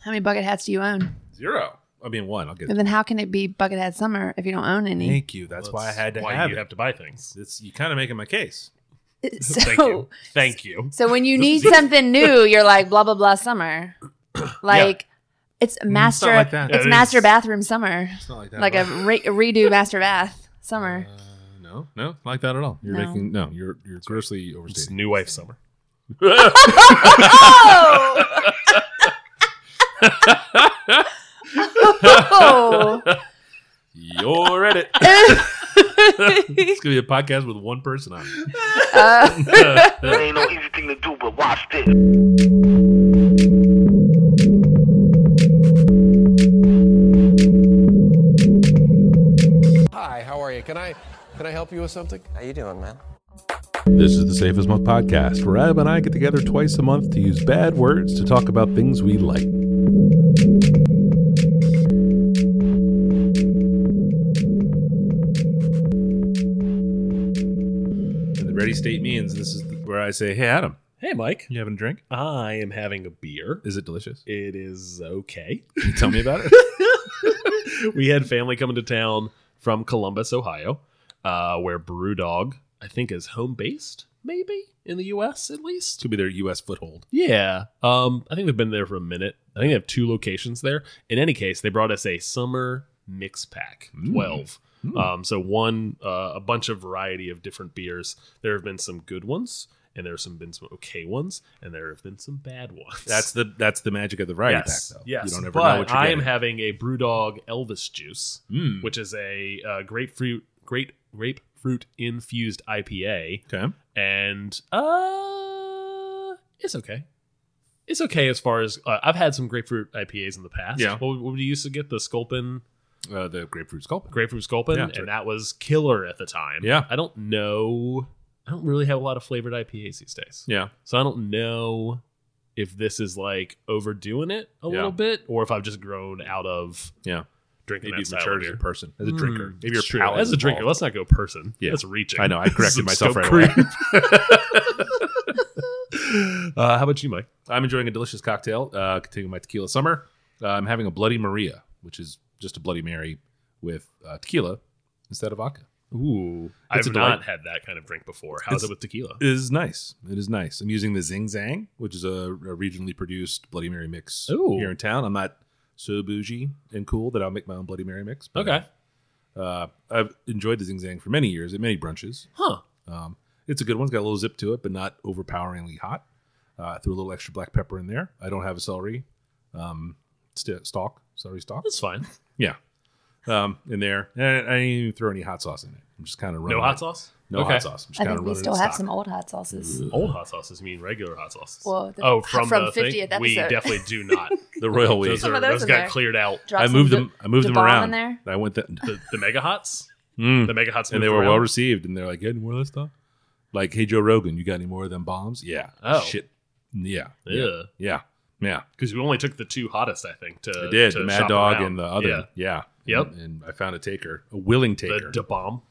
How many bucket hats do you own? Zero. I mean, one. I'll get. And then how can it be bucket hat summer if you don't own any? Thank you. That's why I had to why have you it. have to buy things. it's you kind of making my case. So, Thank you. Thank you. so when you need something new, you're like blah blah blah summer. Like it's master. Mm-hmm. something like that. It's It master is. bathroom summer. It's not like that. Like a, at all. re- a redo master bath summer. Uh, no, no, not like that at all. You're No. making no. You're you're grossly It's overstating. new wife summer. oh! Oh! You're at it. It's gonna be a podcast with one person on it. Uh, There ain't no easy thing to do, but watch this. Hi, how are you? Can I can I help you with something? How you doing, man? This is the Safest Month podcast, where Ab and I get together twice a month to use bad words to talk about things we like. And the ready state means this is where I say, "Hey, Adam, Hey, Mike. you having a drink? I am having a beer. Is it delicious? It is okay. Can you tell me about it." we had family coming to town from Columbus, Ohio, uh, where Brewdog, I think, is home based, maybe in the U.S. at least. to be their U.S. foothold. Yeah, um, I think they've been there for a minute. I think they have two locations there. In any case, they brought us a summer mix pack, Mm. twelve. Mm. Um, so one, uh, a bunch of variety of different beers. There have been some good ones, and there have some been some okay ones, and there have been some bad ones. That's the that's the magic of the variety yes, pack, though. yes. you don't ever but know what you're I am getting. having a BrewDog Elvis juice Mm. which is a uh, grapefruit great grapefruit infused IPA, Okay, and uh, it's okay. It's okay as far as uh, I've had some grapefruit IPAs in the past. Yeah. what, what we used to get the Sculpin uh, the grapefruit sculpin. grapefruit Sculpin, Yeah, and that's right. that was killer at the time. Yeah. I don't know. I don't really have a lot of flavored IPAs these days, Yeah, so I don't know if this is like overdoing it a Yeah. little bit, or if I've just grown out of yeah. Maybe drinking that you've style of matured as beer. a person, Hmm. as a drinker. Mm, Maybe your it's true. palate As a has drinker, evolved. let's not go person. Yeah. That's reaching. I know. I corrected Some myself scope right away. creep. uh, how about you, Mike? I'm enjoying a delicious cocktail. Uh, continuing my tequila summer. Uh, I'm having a Bloody Maria, which is just a Bloody Mary with uh, tequila instead of vodka. Ooh, It's a I've delight. not had that kind of drink before. How's It's- it with tequila? It is nice. It is nice. I'm using the Zing Zang, which is a, a regionally produced Bloody Mary mix Ooh. here in town. I'm not so bougie and cool that I'll make my own Bloody Mary mix. but, Okay, Uh, I've enjoyed the Zing Zang for many years at many brunches. huh? Um, it's a good one. It's got a little zip to it, but not overpoweringly hot. Uh, threw a little extra black pepper in there. I don't have a celery um, st- stalk, celery stalk That's fine. um, in there. And I, I didn't even throw any hot sauce in it. I'm just kind of running. No hot it. sauce. No Okay. hot sauce. I'm just I kind think of we running. still it have stock. some old hot sauces. Old hot sauces. You mean regular hot sauces? Well, the- oh, from, from the thing? 50th We episode. definitely do not. the royal we. those Some are, of those those in got there. cleared out. Drop I some moved Da- them. I moved them Dabom around. in there. I went that, The, the mega hots. Mm. The mega hots. and they moved were well around. received. And they're like, "You got any more of that stuff?" Like, "Hey Joe Rogan, you got any more of them bombs?" Yeah. Oh. shit. Yeah. Yeah. Yeah, Yeah. Yeah. because we only took the two hottest, I think. To I did uh, to the Mad shop Dog around. and the other. Yeah. Yeah. Yep. And, and I found a taker, a willing taker. the Da Bomb.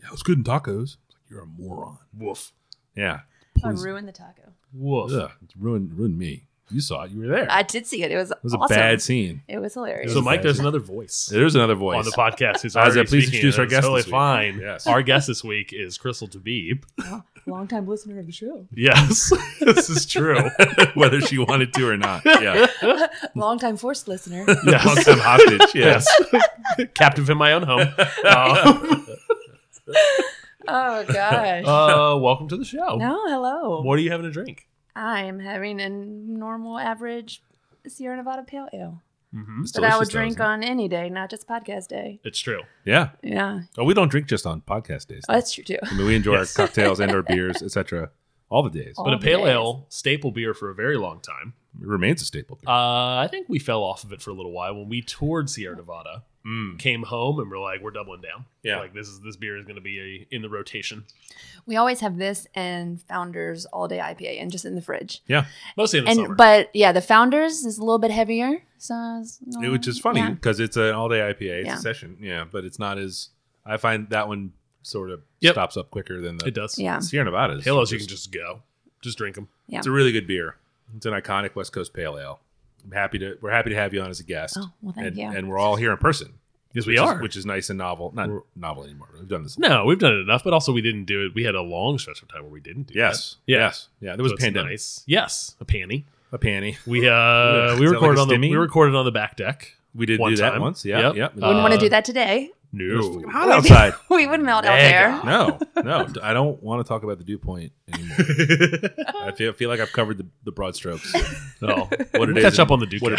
yeah, it was good in tacos. It's like, You're a moron. Woof. Yeah. I Poison. ruined the taco. Woof. Ugh, it's ruined ruined me. You saw it. You were there. I did see it. It was, it was a awesome. bad scene. It was hilarious. So, Mike, Mike, there's another voice There's another on voice. the podcast who's Isaiah, already please speaking, introduce and our it's guest Totally this week. fine. Yes. Our guest this week is Crystal Tabib. Longtime listener of the show. Yes, this is true. Whether she wanted to or not. Yeah. Longtime forced listener. Yes. Long time hostage. Yes. Yes, captive in my own home. Um, oh gosh. uh, welcome to the show. no, hello. What are you having to drink? I am having a normal average Sierra Nevada Pale Ale Mm-hmm. It's that I delicious, would though, drink isn't it? on any day, not just podcast day. It's true. Yeah. Yeah, Oh, we don't drink just on podcast days. Oh, that's true too. I mean, we enjoy Yes. our cocktails and our beers, etc., all the days. All But a the pale days. ale staple beer for a very long time. It remains a staple. Beer. Uh, I think we fell off of it for a little while when we toured Sierra Nevada. Mm. Came home and we're like, we're doubling down. Yeah. like this is this beer is going to be a, in the rotation, We always have this and Founders All Day IPA, and just in the fridge. Yeah, mostly in the and summer. but yeah, the Founders is a little bit heavier, so it's it, which is funny Um, Yeah. because it's an all-day IPA. It's Yeah. a session, yeah, but it's not as. I find that one sort of Yep. stops up quicker than the it does. Yeah. Sierra Nevada's. Halos, you can just go, just drink them. It's a really good beer. It's an iconic West Coast pale ale. I'm happy to. We're happy to have you on as a guest. Oh, well, thank and, you. And we're all here in person. which Yes, we is- are. which is nice and novel. Not novel anymore. We've done this. no, we've done it enough, but also we didn't do it. We had a long stretch of time where we didn't do Yes. that. Yeah. Yes. Yeah. There was So a it's pandemic. nice. Yes, a panty. A panty. We uh Is we that like recorded a on the stimmy? we recorded on the back deck. We did One do that time. once. Yeah. Yep. Yep. Wouldn't want Uh, to do that today. it was fucking No. hot outside. We would melt out Mega. there. No, no, I don't want to talk about the dew point anymore. I feel, feel like I've covered the, the broad strokes. Oh, What it We'll is catch up and on the what it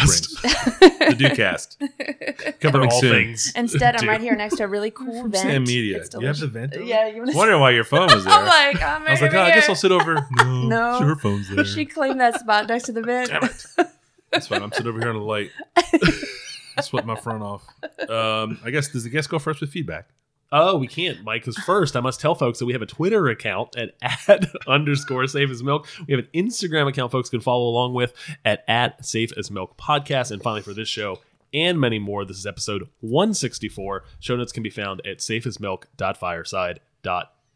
brings. Dewcast. the Dewcast. cover Coming all soon. things. Instead, I'm Dude. right here next to a really cool vent. Sam Media. It's You have delicious. the vent. over? yeah, you want to Wondering why your phone was there. I'm like, I'm I was right like, oh, over I here. guess I'll sit over. No, No. your phone's there. She claimed that spot next to the vent. Damn it. That's fine. I'm sitting over here on the light. That's what my front off. Um, I guess does the guest go first with feedback? Oh, we can't, Mike. Because first, I must tell folks that we have a Twitter account at at underscore safe as milk. We have an Instagram account folks can follow along with at at safe as milk podcast. And finally, for this show and many more, this is episode 164. Show notes can be found at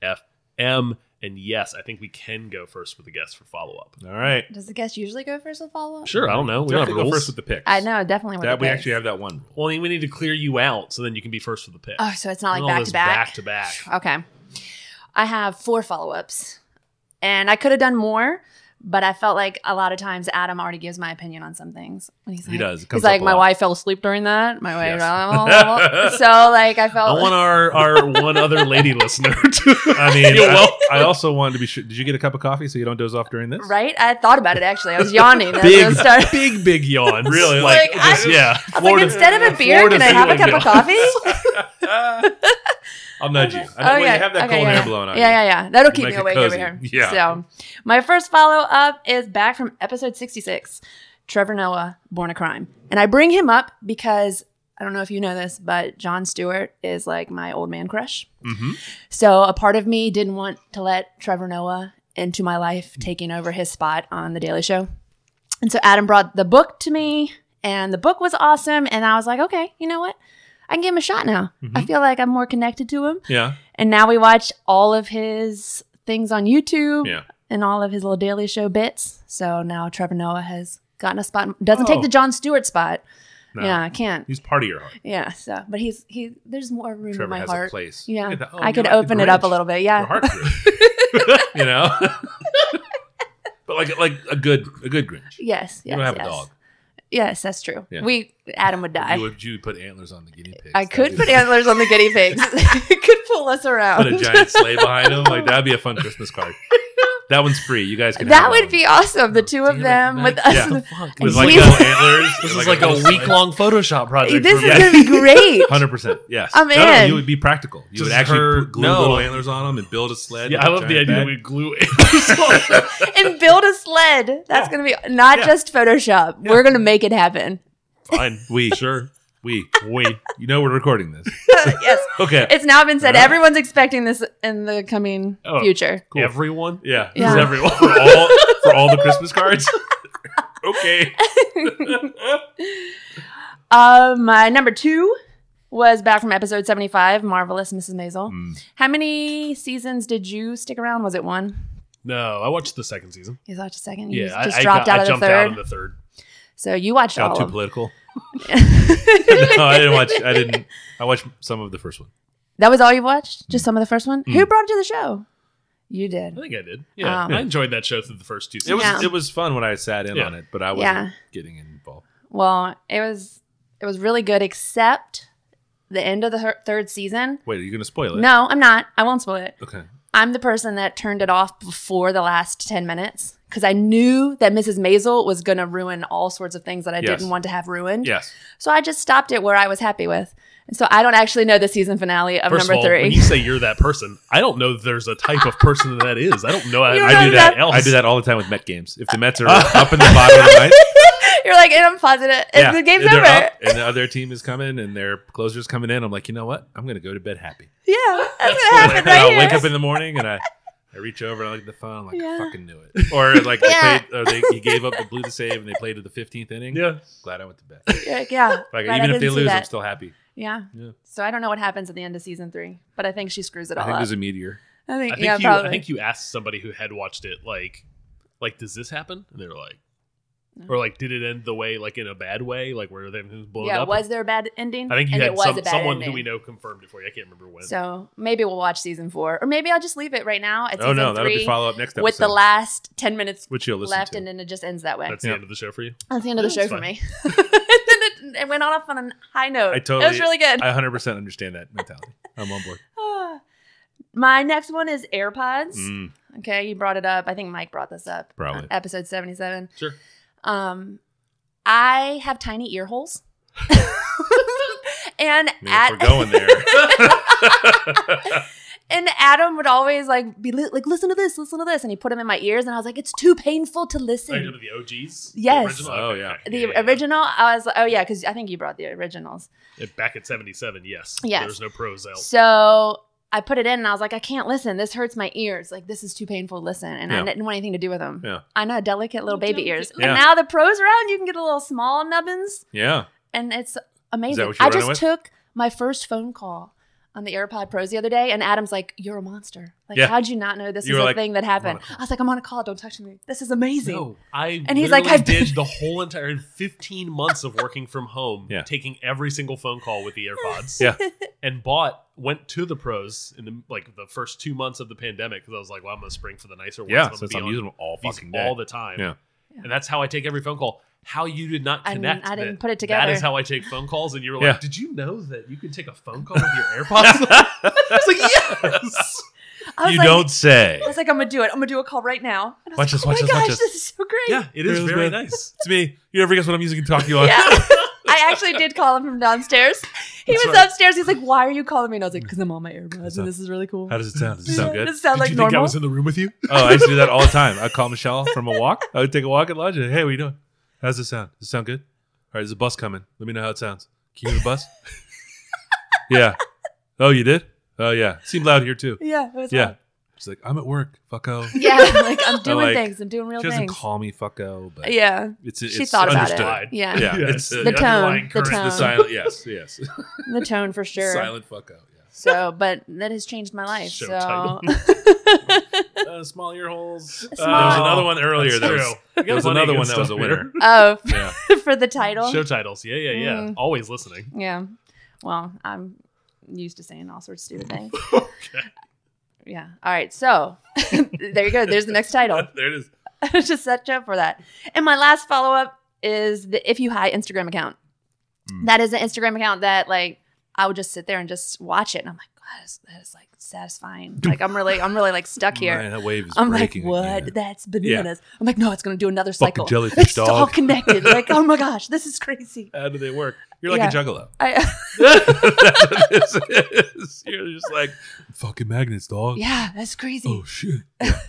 safeasmilk.fireside.fm. And yes, I think we can go first with the guest for follow up. All right. Does the guest usually go first with follow up? Sure, I don't know. We don't have Definitely go rules. first with the picks. I know, definitely. with that the we picks. actually have that one rule. well, I mean, we need to clear you out so then you can be first with the pick. Oh, so it's not All like back this to back. Back to back. Okay. I have four follow ups, and I could have done more, but I felt like a lot of times Adam already gives my opinion on some things. When He's He like, does. It comes He's like, up a my lot." wife fell asleep during that. My wife. Yes. blah, blah, blah." so like, I I felt. want our, our one other lady listener to. I mean, You're I, welcome. I also wanted to be sure. Did you get a cup of coffee so you don't doze off during this? Right, I thought about it actually. I was yawning. That's big, when it started. big, big yawn. Really? Like, Like, I- just- yeah. I was like, instead of a beer, Florida's can I have a doing cup of it. coffee? I'll nudge you. I know when you have that cold Oh, yeah, air yeah. blown on Yeah, you. yeah, yeah. That'll You keep make me it awake over cozy. here. Yeah. So, my first follow up is back from episode 66 Trevor Noah, Born a Crime. And I bring him up because I don't know if you know this, but John Stewart is like my old man crush. Mhm. So, a part of me didn't want to let Trevor Noah into my life, taking over his spot on The Daily Show. And so, Adam brought the book to me, and the book was awesome. And I was like, okay, you know what? I can give him a shot now. Mm-hmm. I feel like I'm more connected to him. Yeah. And now we watch all of his things on YouTube Yeah. and all of his little Daily Show bits. So now Trevor Noah has gotten a spot. Doesn't take Oh. the John Stewart spot. No. Yeah, I can't. He's part of your heart. Yeah. So, but he's he. There's more room Trevor in my has heart. a place. Yeah, Look at that. Oh, I could you're like the open it up a Grinch. little bit. Yeah. Your heart grew. you know? but like like a good a good Grinch. Yes. Yes. you don't have yes. a dog. Yes, that's true. Yeah. We Adam would die. You would you would put antlers on the guinea pigs. I That'd could be- put antlers on the guinea pigs. it could pull us around. put a giant sleigh behind them. Like that'd be a fun Christmas card. That one's free. You guys can. that have would one. be awesome. The two of them Damn it, with Max. us. Yeah. in the- with and like we- little antlers. This is like a week long Photoshop project. This for is me. gonna be great. Hundred percent. Yes. I'm No, no, in. you would be practical. You Just would actually her- put, glue no. little antlers on them and build a sled. Yeah, with I a love the giant idea that bag. we glue it. and build a sled. That's gonna be not Yeah. just Photoshop. We're gonna make it happen. Fine. We sure. We. We. You know we're recording this. yes, Okay. it's now been said. Alright. Everyone's expecting this in the coming Oh. future. Cool. Everyone? yeah. Yeah. For everyone. For all for all the Christmas cards. okay. Um, my number two was back from episode seventy-five, marvelous Mrs. Maisel. Hmm. How many seasons did you stick around? Was it one? No, I watched the second season. You watched a second. You Yeah, I, just I dropped got- out I of the jumped third. out of the third. so you watched Got all too of them. political. no, I didn't watch. I didn't. I watched some of the first one. That was all you watched? Hmm. Just some of the first one? Who brought it to the show? You I did. think I did. Yeah, Um, I enjoyed that show through the first two It was seasons. Yeah. it was fun when I sat in Yeah. on it, but I wasn't Yeah. getting involved. Well, it was it was really good except the end of the her- third season. Wait, are you going to spoil it? No, I'm not. I won't spoil it. Okay. I'm the person that turned it off before the last 10 minutes because I knew that Mrs. Maisel was going to ruin all sorts of things that I Yes. didn't want to have ruined. Yes. So I just stopped it where I was happy with. And so I don't actually know the season finale of First number of all, when three. you say you're that person, I don't know there's a type of person that is. I don't know. I, You don't I do know that. that. Else. I do that all the time with Met games. If the Mets are up in the bottom of the ninth, You're like, and I'm positive. And the game's and over. they're up, and the other team is coming, and their closer's coming in. I'm like, you know what? I'm going to go to bed happy. Yeah, that's what happened And right I'll here. wake up in the morning, and I, I reach over and I look at the phone. I'm like, I Yeah. fucking knew it. Or like they Yeah. played, or they he gave up, they blew the save, and they played to the 15th inning. Yeah. Glad I went to bed. You're like, yeah. Like glad I even didn't if they see lose, I'm that. still happy. Yeah. Yeah. So I don't know what happens at the end of season three, but I think she screws it I all think up. there's a meteor. I think, I think yeah, you. probably. I think you asked somebody who had watched it, like, like does this happen? And they were like, Or like, did it end the way, like in a bad way, like where everything was blown yeah, up? was there a bad ending? I think you and had it was some, a bad someone ending. who we know confirmed it for you. I can't remember when. So maybe we'll watch season four, or maybe I'll just leave it right now at Oh season no, that'll three be follow up next episode. with the last ten minutes which you'll listen left, to. and then it just ends that way. That's Yeah. the end of the show for you. That's the end of the That's show for fine. me. and then it, it went off on a high note. I totally. it was really good. I 100 percent understand that mentality. I'm on board. My next one is AirPods. Mm, Okay, you brought it up. I think Mike brought this up. Probably. on episode 77. Sure. Um, I have tiny ear holes. and I mean, if at, we're going there. and Adam would always like be li- like listen to this, listen to this, and he put them in my ears, and I was like, it's too painful to Are you listen. talking about the OGs? The Yes. original? Oh, Okay, yeah. okay. The Yeah, yeah, yeah. original, I was like, oh yeah, because I think you brought the originals. Back at 77, yes. Yes. There's no Prozell. So I put it in, and I was like, I can't listen. This hurts my ears. Like this is too painful to listen, and Yeah. I didn't want anything to do with them. Yeah. I know, delicate little Little baby ears. delicate- And Yeah. now the pros are out, and you can get a little small nubbins. yeah. and it's amazing. what you're I just running with? took my first phone call on the AirPod Pros the other day, and Adam's like, "You're a monster! Like, Yeah. how'd you not know this You is were a like, thing that happened?" on a I was like, "I'm on a call. Don't touch me. This is amazing." No, I And he's like, literally I've been- did the whole entire 15 months of working from home, Yeah. taking every single phone call with the AirPods. Yeah. And bought went to the pros in the like the first two months of the pandemic because I was like, well, I'm gonna spring for the nicer ones. Yeah. I'm Since I'm gonna be on using them all these fucking all day. the time. Yeah. And that's how I take every phone call. How you did not I mean, connect? I didn't that- put it That together. is how I take phone calls, and you were like, Yeah. "Did you know that you can take a phone call with your AirPods?" I was like, "Yes." I was you like, don't say. I was like, "I'm gonna do it. I'm gonna do a call right now." And I was Watch this, like, watch oh this, my watch gosh, this. this is so great. yeah, it is Here's very the- nice. It's me. You ever guess what I'm using to talk to you on? Yeah. I actually did call him from downstairs. He That's was right. upstairs. He's like, "Why are you calling me?" And I was like, "Cause I'm on my AirPods, and this is really cool." How does it sound? Does it sound good? This sounds Did like you think I normal. was in the room with you? Oh, I used to do that all the time. I'd call Michelle from a walk. I would take a walk at lunch. And, hey, what you doing? How's it sound? Does it sound good? All right, there's a bus coming. Let me know how it sounds. Can you hear the bus? yeah. Oh, you did? Oh, yeah. Seemed loud here, too. yeah, it was. Yeah. loud. She's like, I'm at work, fucko. She yeah. I'm Like uh, I'm doing like, things. I'm doing real doesn't things. call me fucko, but yeah, it's, it's she thought about understood. it. Yeah. Yeah. Yes. It's, uh, The yeah, tone, underlying the current. tone. the silent, yes, yes. the tone for sure. Silent fucko. So, but that has changed my life. Show so, title. Yeah. Uh, small ear holes. Small- Uh, There was Oh, another one earlier. That's That true. was, We got there was plenty another of one good that was a stuff winner. oh, Yeah. for the title, here. Show titles. Yeah, yeah, yeah. Mm. Always listening. yeah. Well, I'm used to saying all sorts of stupid things. Yeah. All right. So, there you go. There's the next title. there it is. Just set you up for that. And my last follow up is the If You High Instagram account. Mm. That is an Instagram account that like I would just sit there and just watch it, and I'm like, God, that is, that is like satisfying. like I'm really, I'm really like stuck here. Man, that wave is I'm like, breaking what? again. That's bananas. I'm like, no, it's going to do another Fucking cycle. jellyfish it's dog. all connected. like, oh my gosh, this is crazy. How do they work? You're like Yeah. a juggalo. I, That's what this is. You're just like fucking magnets, dog. yeah, that's crazy. Oh shit.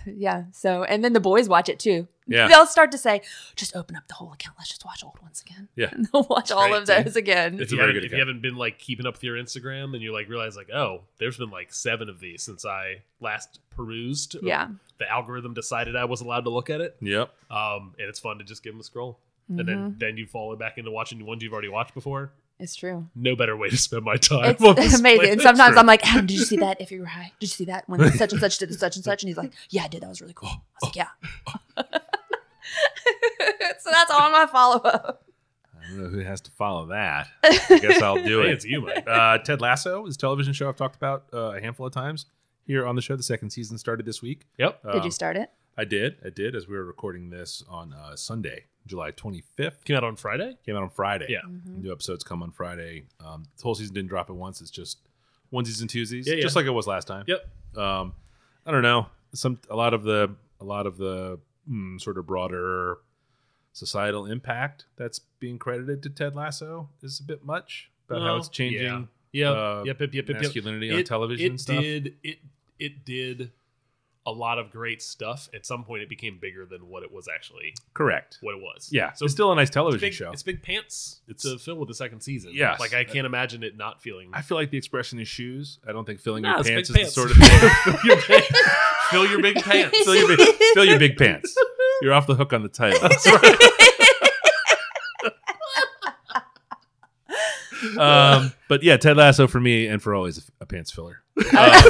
Yeah. So, and then the boys watch it too. Yeah. They'll start to say, just open up the whole account. Let's just watch old ones again. Yeah. And they'll watch all great, of dude. those again. It's a if you, very haven't, good if you account. haven't been like keeping up with your Instagram and you like realize like, oh, there's been like seven of these since I last perused. or Yeah. The algorithm decided I was allowed to look at it. Yep. Um, and it's fun to just give them a scroll. And Mm-hmm. then then you fall back into watching the ones you've already watched before. It's true. No better way to spend my time. It's on this amazing. And planet. sometimes True. I'm like, Adam, did you see that? If you were high, did you see that when such and such did such and such? And he's like, yeah, I did. That was really cool. I was like, yeah. so that's all my follow up. I don't know who has to follow that. I guess I'll do Hey, it. it's you, Mike. Uh, Ted Lasso is a television show I've talked about uh, a handful of times here on the show. The second season started this week. Yep. Did Um, you start it? I did. I did as we were recording this on uh, Sunday, July 25th. Came out on Friday. Came out on Friday. Yeah. Mm-hmm. New episodes come on Friday. Um, the whole season didn't drop at once. It's just onesies and twosies, Yeah, yeah. just like it was last time. Yep. Um, I don't know. Some a lot of the a lot of the mm, sort of broader societal impact that's being credited to Ted Lasso is a bit much about how No. it's changing Yeah. Yep. uh, yep. Yep. Yep. Yep. Yep. masculinity on television it and stuff. did it it did a lot of great stuff at some point it became bigger than what it was actually Correct. what it was Yeah. So so it's still a nice television it's big, show. it's big pants It's- to fill with the second season Yes. like i can't imagine it not feeling I feel like the expression is shoes. I don't think filling Nah, your it's pants is big the sort pants. of thing. fill, your big, fill your big pants fill your big, fill your big pants. You're off the hook on the title. um, but yeah, Ted Lasso for me and for always a, a pants filler. Um,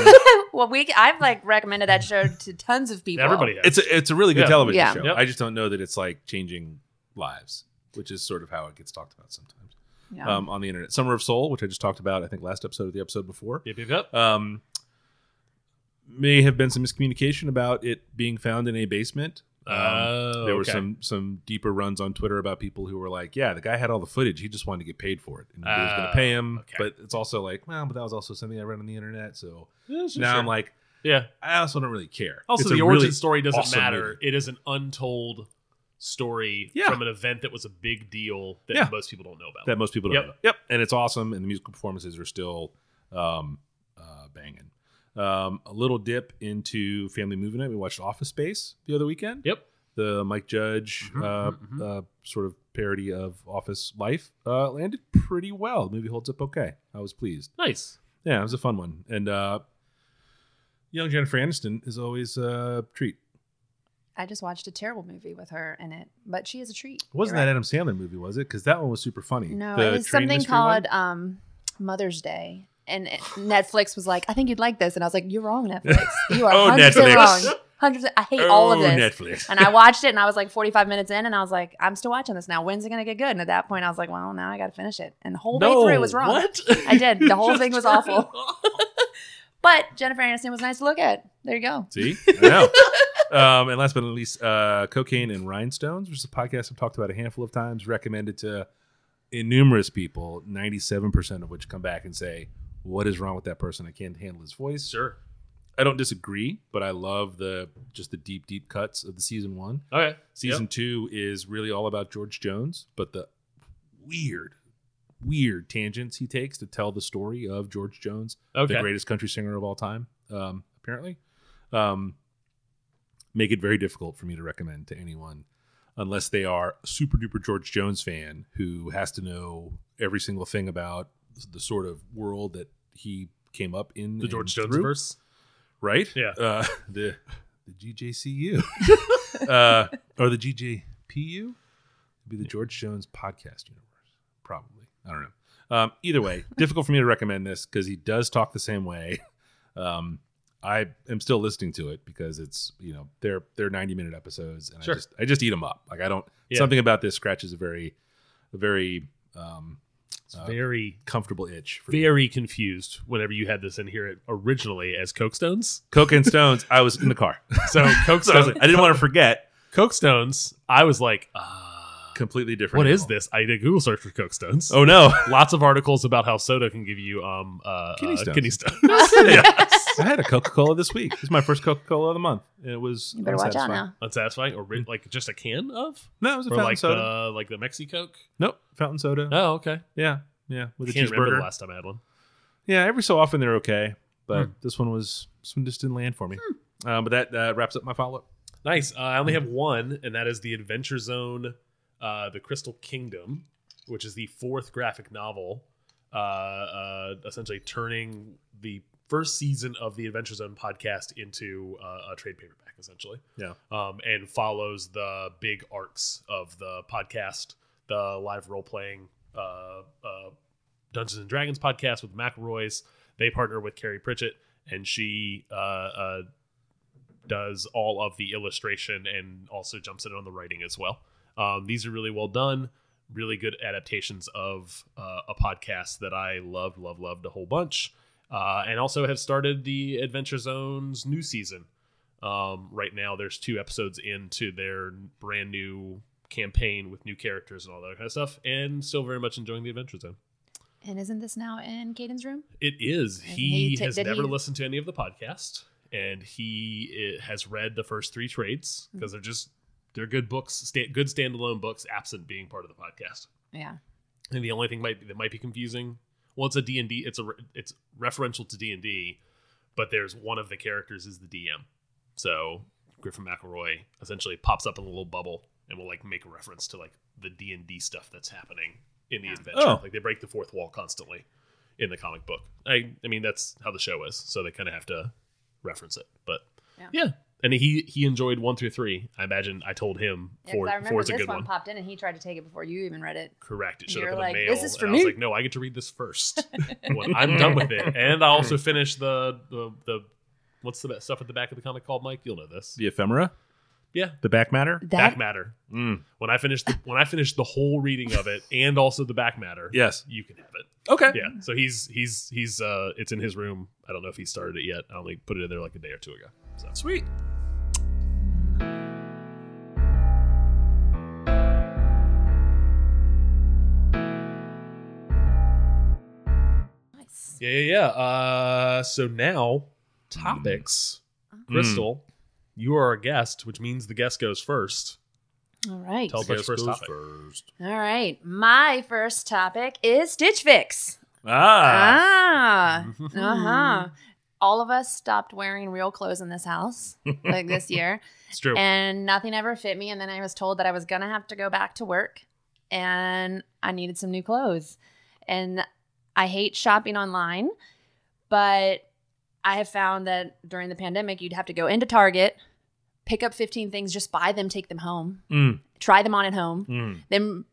well, we I've like recommended that show to tons of people. everybody It's has. a it's a really good Yeah. television Yeah. show. Yep. I just don't know that it's like changing lives, which is sort of how it gets talked about sometimes Yeah. um, on the internet. Summer of Soul, which I just talked about, I think last episode of the episode before, Yep, yep, yep. um, may have been some miscommunication about it being found in a basement. Um, Oh, there were okay. some some deeper runs on Twitter about people who were like, "Yeah, the guy had all the footage. He just wanted to get paid for it, and he was going Oh, to pay him." okay. But it's also like, well, but that was also something I read on the internet. So Yeah, sure, now sure. I'm like, yeah. I also don't really care. Also, It's a the origin really story doesn't awesome matter. movie. It is an untold story Yeah. from an event that was a big deal that Yeah. most people don't know about. that most people don't Yep. know. Yep. And it's awesome. And the musical performances are still um, uh, banging. Um, a little dip into family movie night. We watched Office Space the other weekend. yep. The Mike Judge Mhm, uh, mhm, mhm. Uh, sort of parody of Office Life uh, landed pretty well. The movie holds up okay. I was pleased. Nice. Yeah, it was a fun one. And uh, young Jennifer Aniston is always uh, a treat. I just watched a terrible movie with her in it, but she is a treat. It wasn't You're right. that Adam Sandler movie, was it? Because that one was super funny. No, The it was train something mystery one? called um, Mother's Day. And it- Netflix was like, I think you'd like this. And I was like, You're wrong, Netflix. You are Oh, 100% Netflix. wrong. 100%. I hate all of Oh, this. Netflix. And I watched it and I was like 45 minutes in and I was like, I'm still watching this now. When's it going to get good? And at that point, I was like, Well, now I got to finish it. And the whole way through it was wrong. What? I did. The whole Just thing was turn awful. it off. But Jennifer Aniston was nice to look at. There you go. See, I know. um, and last but not least, uh, cocaine and rhinestones, which is a podcast I've talked about a handful of times, recommended to innumerous people. Ninety-seven percent of which come back and say, "What is wrong with that person? I can't handle his voice." Sure. I don't disagree, but I love the just the deep, deep cuts of the season one. Okay. Season two is really all about George Jones, but the weird, weird tangents he takes to tell the story of George Jones Yep. the Okay. greatest country singer of all time, um, apparently, um, make it very difficult for me to recommend to anyone unless they are a super duper George Jones fan who has to know every single thing about the sort of world that he came up in. The George and Jones through, verse. Right? Yeah. Uh, the, the GJCU uh, or the GJPU. Be the George Jones podcast universe, probably. I don't know. Um, either way, difficult for me to recommend this because he does talk the same way. Um, I am still listening to it because it's you know they're they're ninety minute episodes and Sure. I just I just eat them up. Like I don't Yeah. something about this scratches a very a very um, It's very, comfortable itch. For me. very confused whenever you had this in here originally as Coke Stones. Coke and Stones. I was in the car, So Coke so I, was Stones. like, I didn't want to forget. Coke Stones. I was like, uh, Completely different. what is animal. this? I did a Google search for Coke Stones. Ah, Oh no! Lots of articles about how soda can give you um uh, Kidney uh, stones. kidney stones. I had a Coca Cola this week. This is my first Coca Cola of the month. and It was. You better watch out unsatisfying. now. Unsatisfying or ri- like just a can of No, it was a or fountain like uh, soda. the like the Mexi Coke. Nope, fountain soda. Oh, okay. Yeah, yeah, with a Can't remember the cheeseburger. last time I had one. Yeah, every so often they're okay, but Hmm. this one was this one just didn't land for me. Hmm. Um, but that uh, wraps up my follow up. Nice. Uh, I only have one, and that is the Adventure Zone, uh, the Crystal Kingdom, which is the fourth graphic novel, uh, uh, essentially turning the first season of the Adventure Zone podcast into uh, a trade paperback, essentially. Yeah. Um, and follows the big arcs of the podcast, the live role playing uh, uh, Dungeons and Dragons podcast with McElroy's. They partner with Carrie Pritchett, and she uh, uh, does all of the illustration and also jumps in on the writing as well. Um, these are really well done, really good adaptations of uh, a podcast that I loved, love, loved a whole bunch. Uh, and also have started the Adventure Zone's new season. Um, right now, there's two episodes into their brand new campaign with new characters and all that kind of stuff, and still very much enjoying the Adventure Zone. And isn't this now in Caden's room? It is. And He, he ta- has did never he- listened to any of the podcast, and he eh, has read the first three trades because they're just they're good books, sta- good standalone books, absent being part of the podcast. Yeah. And the only thing might be, that might be confusing, well, it's a D and D. It's a re- it's referential to D and D, but there's one of the characters is the DM. So Griffin McElroy essentially pops up in a little bubble and will like make a reference to like the D and D stuff that's happening in the adventure. Oh. Like they break the fourth wall constantly in the comic book. I I mean that's how the show is, so they kind of have to reference it. But yeah. Yeah. and he he enjoyed one through three. I imagine I told him Yeah, 'cause four I four remember is a this good one, one. popped in and he tried to take it before you even read it. Correct. It showed You're up in like, the mail. "This is for and I was me." like, no, I get to read this first. when I'm done with it. And I also finished the, the the what's the stuff at the back of the comic called, Mike? You'll know this. The Hmm. ephemera. Yeah. The back matter? That back matter. When I finished the when I finished the whole reading of it and also the back matter, Yes. you can have it. Okay. Yeah. So he's he's he's uh it's in his room. I don't know if he started it yet. I only put it in there like a day or two ago. So Sweet. Nice. yeah, yeah, yeah. Uh so now topics. Crystal, you are a guest, which means the guest goes first. All right. Tell us about your first topic. All right. My first topic is Stitch Fix. Uh. Ah. Ah. Uh-huh. All of us stopped wearing real clothes in this house like this year. It's true. and nothing ever fit me. And then I was told that I was gonna have to go back to work, and I needed some new clothes. And I hate shopping online, but I have found that during the pandemic, you'd have to go into Target, pick up 15 things, just buy them, take them home, Mm. try them on at home, Mm. then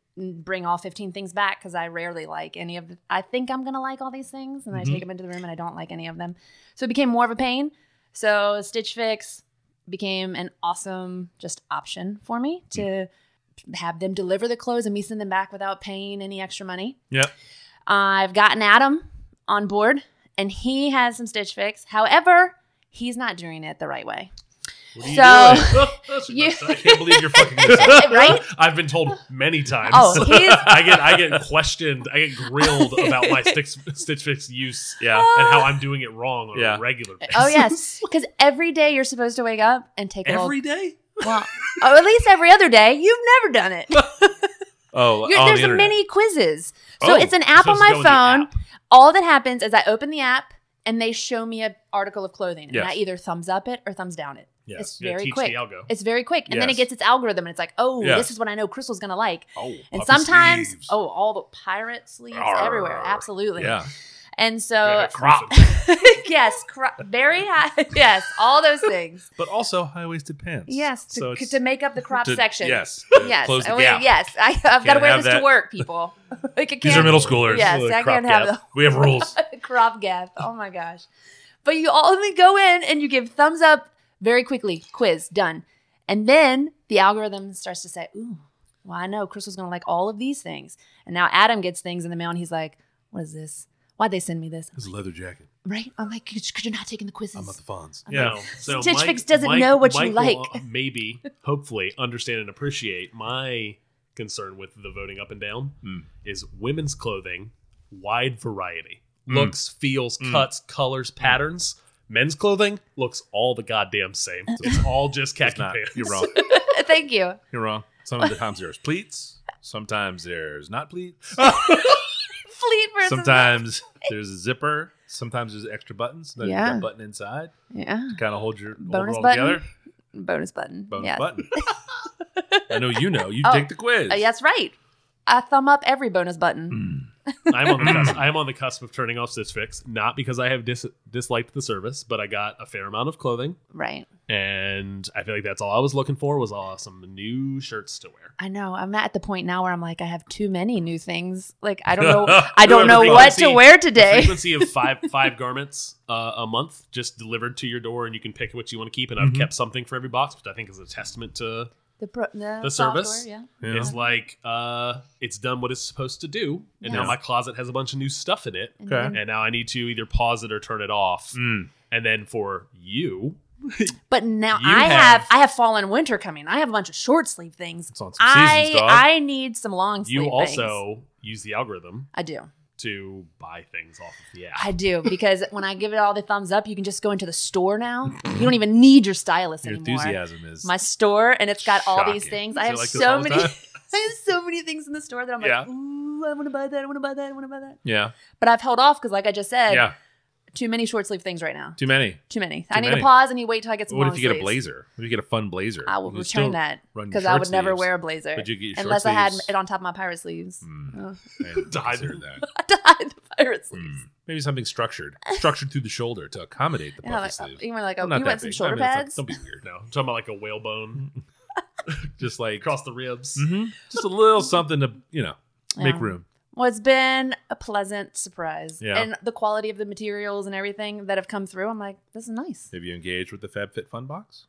bring all 15 things back because I rarely like any of the, I think I'm going to like all these things Mm-hmm. and I take them into the room and I don't like any of them. So it became more of a pain. So Stitch Fix became an awesome just option for me to have them deliver the clothes and me send them back without paying any extra money. Yep. I've gotten Adam on board and he has some Stitch Fix. However, he's not doing it the right way. What are you so- doing? That's what you- I said. I can't believe you're fucking this up. right? I've been told many times. Oh, he's I get I get questioned, I get grilled about my Stitch, Stitch Fix use Yeah. and how I'm doing it wrong on Yeah. a regular basis. Oh yes, because every day you're supposed to wake up and take a Every little, day? well, or at least every other day. You've never done it. Oh, You're- on there's the a internet. mini quizzes, so Oh, it's an app on supposed to my go in the phone. app. All that happens is I open the app and they show me an article of clothing, and Yes. I either thumbs up it or thumbs down it. Yes. It's Yeah, very teach quick. the algo. It's very quick, and then it Yes. gets its algorithm, and it's like, oh, Yeah. this is what I know Crystal's gonna like. Oh, And puppy sometimes, sleeves. oh, all the pirate sleeves Arr. everywhere, absolutely. Yeah. And Yeah, so, crop. yes, cro- very high, yes, all those things. But also high waisted pants. Yes, to, So it's- to make up the crop to- section. Yes. Yes. Close the I- gap. Yes. I, I've got to Can't wear have this that. to work, people. Like, I These are can't- middle schoolers. Yes, Look, I crop can't have gap. the- We have rules. crop gap. Oh my gosh. But you only go in and you give thumbs up very quickly. Quiz done. And then the algorithm starts to say, "Ooh, well, I know Crystal's gonna like all of these things." And now Adam gets things in the mail, and he's like, "What is this? Why'd they send me this?" His leather jacket. Right? I'm like, "Could you- could you not taking the quizzes?" I'm at the Fonz. Yeah. Yeah. So Stitch Mike- Fix doesn't Mike- know what you Mike will, like. uh, maybe, hopefully, understand and appreciate my concern with the voting up and down Hmm. is women's clothing, wide variety. Hmm. Looks, feels, cuts, colors, patterns. Men's clothing looks all the goddamn same. It's all just khaki It's not. pants. You're wrong. Thank you. You're wrong. Sometimes there's pleats. Sometimes there's not pleats. Fleet versus Sometimes there's a zipper. Sometimes there's extra buttons. Sometimes yeah. Yeah. a button inside yeah. to kind of hold your Bonus overall button. together. Bonus button. Bonus yes. button. I know you know. You Oh. take the quiz. Hmm. Uh, that's right. I thumb up every bonus Mm. button. I'm on the cusp. I'm on the cusp of turning off Stitch Fix, not because I have dis- disliked the service, but I got a fair amount of clothing, Right. and I feel like that's all I was looking for was all some new shirts to wear. I know. I'm at the point now where I'm like, I have too many new things. Like I don't know. I don't know what to Frequency- wear The today. frequency of five five garments uh, a month just delivered to your door, and you can pick what you want to keep. And Mm-hmm. I've kept something for every box, which I think is a testament to The, pro- the, the software, service. Yeah. Yeah. It's like uh, it's done what it's supposed to do, and now Yes. my closet has a bunch of new stuff in it, Mm-hmm. Okay. and now I need to either pause it or turn it off. Mm. And then for you, But now You I have, have- I have fall and winter coming. I have a bunch of short sleeve things. It's on some I seasons, dog. I need some long sleeve. you things. also use the algorithm I do. to buy things off of the app. I do because when I give it all the thumbs up, you can just go into the store now. You don't even need your stylist your anymore. enthusiasm is. my store and it's got all these Shocking. things. Is I it have like this all so the many time? I have so many things in the store that I'm Yeah. like, ooh, I want to buy that, I want to buy that, I want to buy that. yeah. But I've held off because like I just said, Yeah. too many short sleeve things right now. Too many. Too many. I need many. to pause and you wait till I get some what long if you get a sleeves. blazer? What if you get a fun blazer? I will You can return still that run your because I short would never sleeves. wear a blazer But you get your short unless I had sleeves. it on top of my pirate sleeves. Mm. Oh. I hadn't Died. considered that. to hide the pirate sleeves. Mm. Maybe something structured, structured through the shoulder to accommodate the And I'm puffy like, sleeves. you were like, oh, Not you that want some big. I shoulder mean, it's like- pads? don't be weird. No, I'm talking about like a whalebone Just like across the ribs. Mhm. just a little something to you know make Yeah. room. Well, it's been a pleasant surprise. Yeah. And the quality of the materials and everything that have come through, I'm like, this is nice. Have you engaged with the FabFitFun box?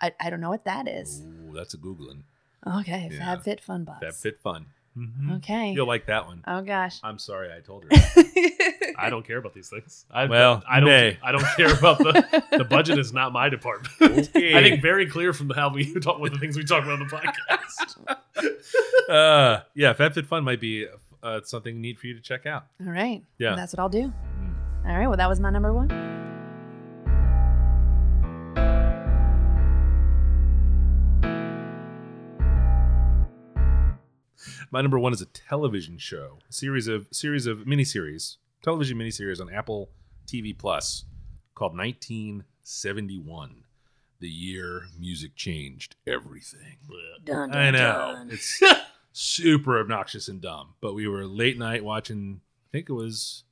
I, I don't know what that is. Ooh, that's a googling. Okay, Yeah. FabFitFun box. That fit fun. Mm-hmm. Okay. You'll like that one. oh gosh. I'm sorry, I told her. that. I don't care about these things. I, Well, I don't. nay. I don't care about the the budget. Is not my department. Okay. I think very clear from how we talk with the things we talk about on the podcast. uh, yeah, Fat Fit Fun might be uh, something neat for you to check out. All right. Yeah. Hmm. That's what I'll do. All right. Well, that was my number one. My number one is a television show, a series of series of miniseries, television miniseries on Apple TV Plus, called 1971, the year music changed everything. Dun, I dun, know dun. it's super obnoxious and dumb, but we were late night watching. I think it was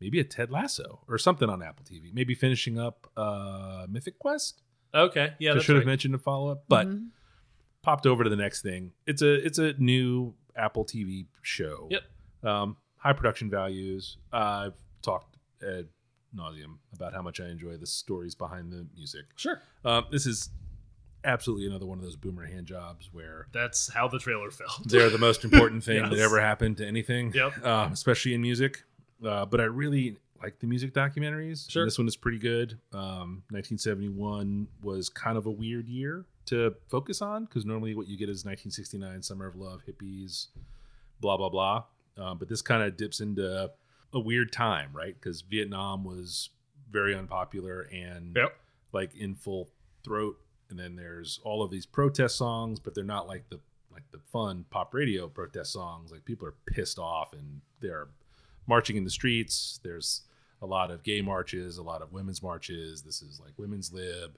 maybe a Ted Lasso or something on Apple TV. Maybe finishing up uh, Mythic Quest. Okay. Yeah. I That's should have right. Mm-hmm. mentioned a follow up, but Mhm. popped over to the next thing. It's a it's a new Apple TV show. Yep. Um, high production values. I've talked ad nauseum about how much I enjoy the stories behind the music. Sure. Um, this is absolutely another one of those boomer hand jobs where That's how the trailer felt. they're the most important thing that Yes. ever happened to anything. Yep. Um, especially in music. Uh, but I really like the music documentaries. and Sure. this one is pretty good. Um, 1971 was kind of a weird year to focus on because normally what you get is 1969, Summer of Love, hippies, blah, blah, blah. Uh, but this kind of dips into a weird time, right? Because Vietnam was very unpopular and Yep. like in full throat and then there's all of these protest songs but they're not like the like the fun pop radio protest songs like people are pissed off and they're marching in the streets there's a lot of gay marches a lot of women's marches this is like women's lib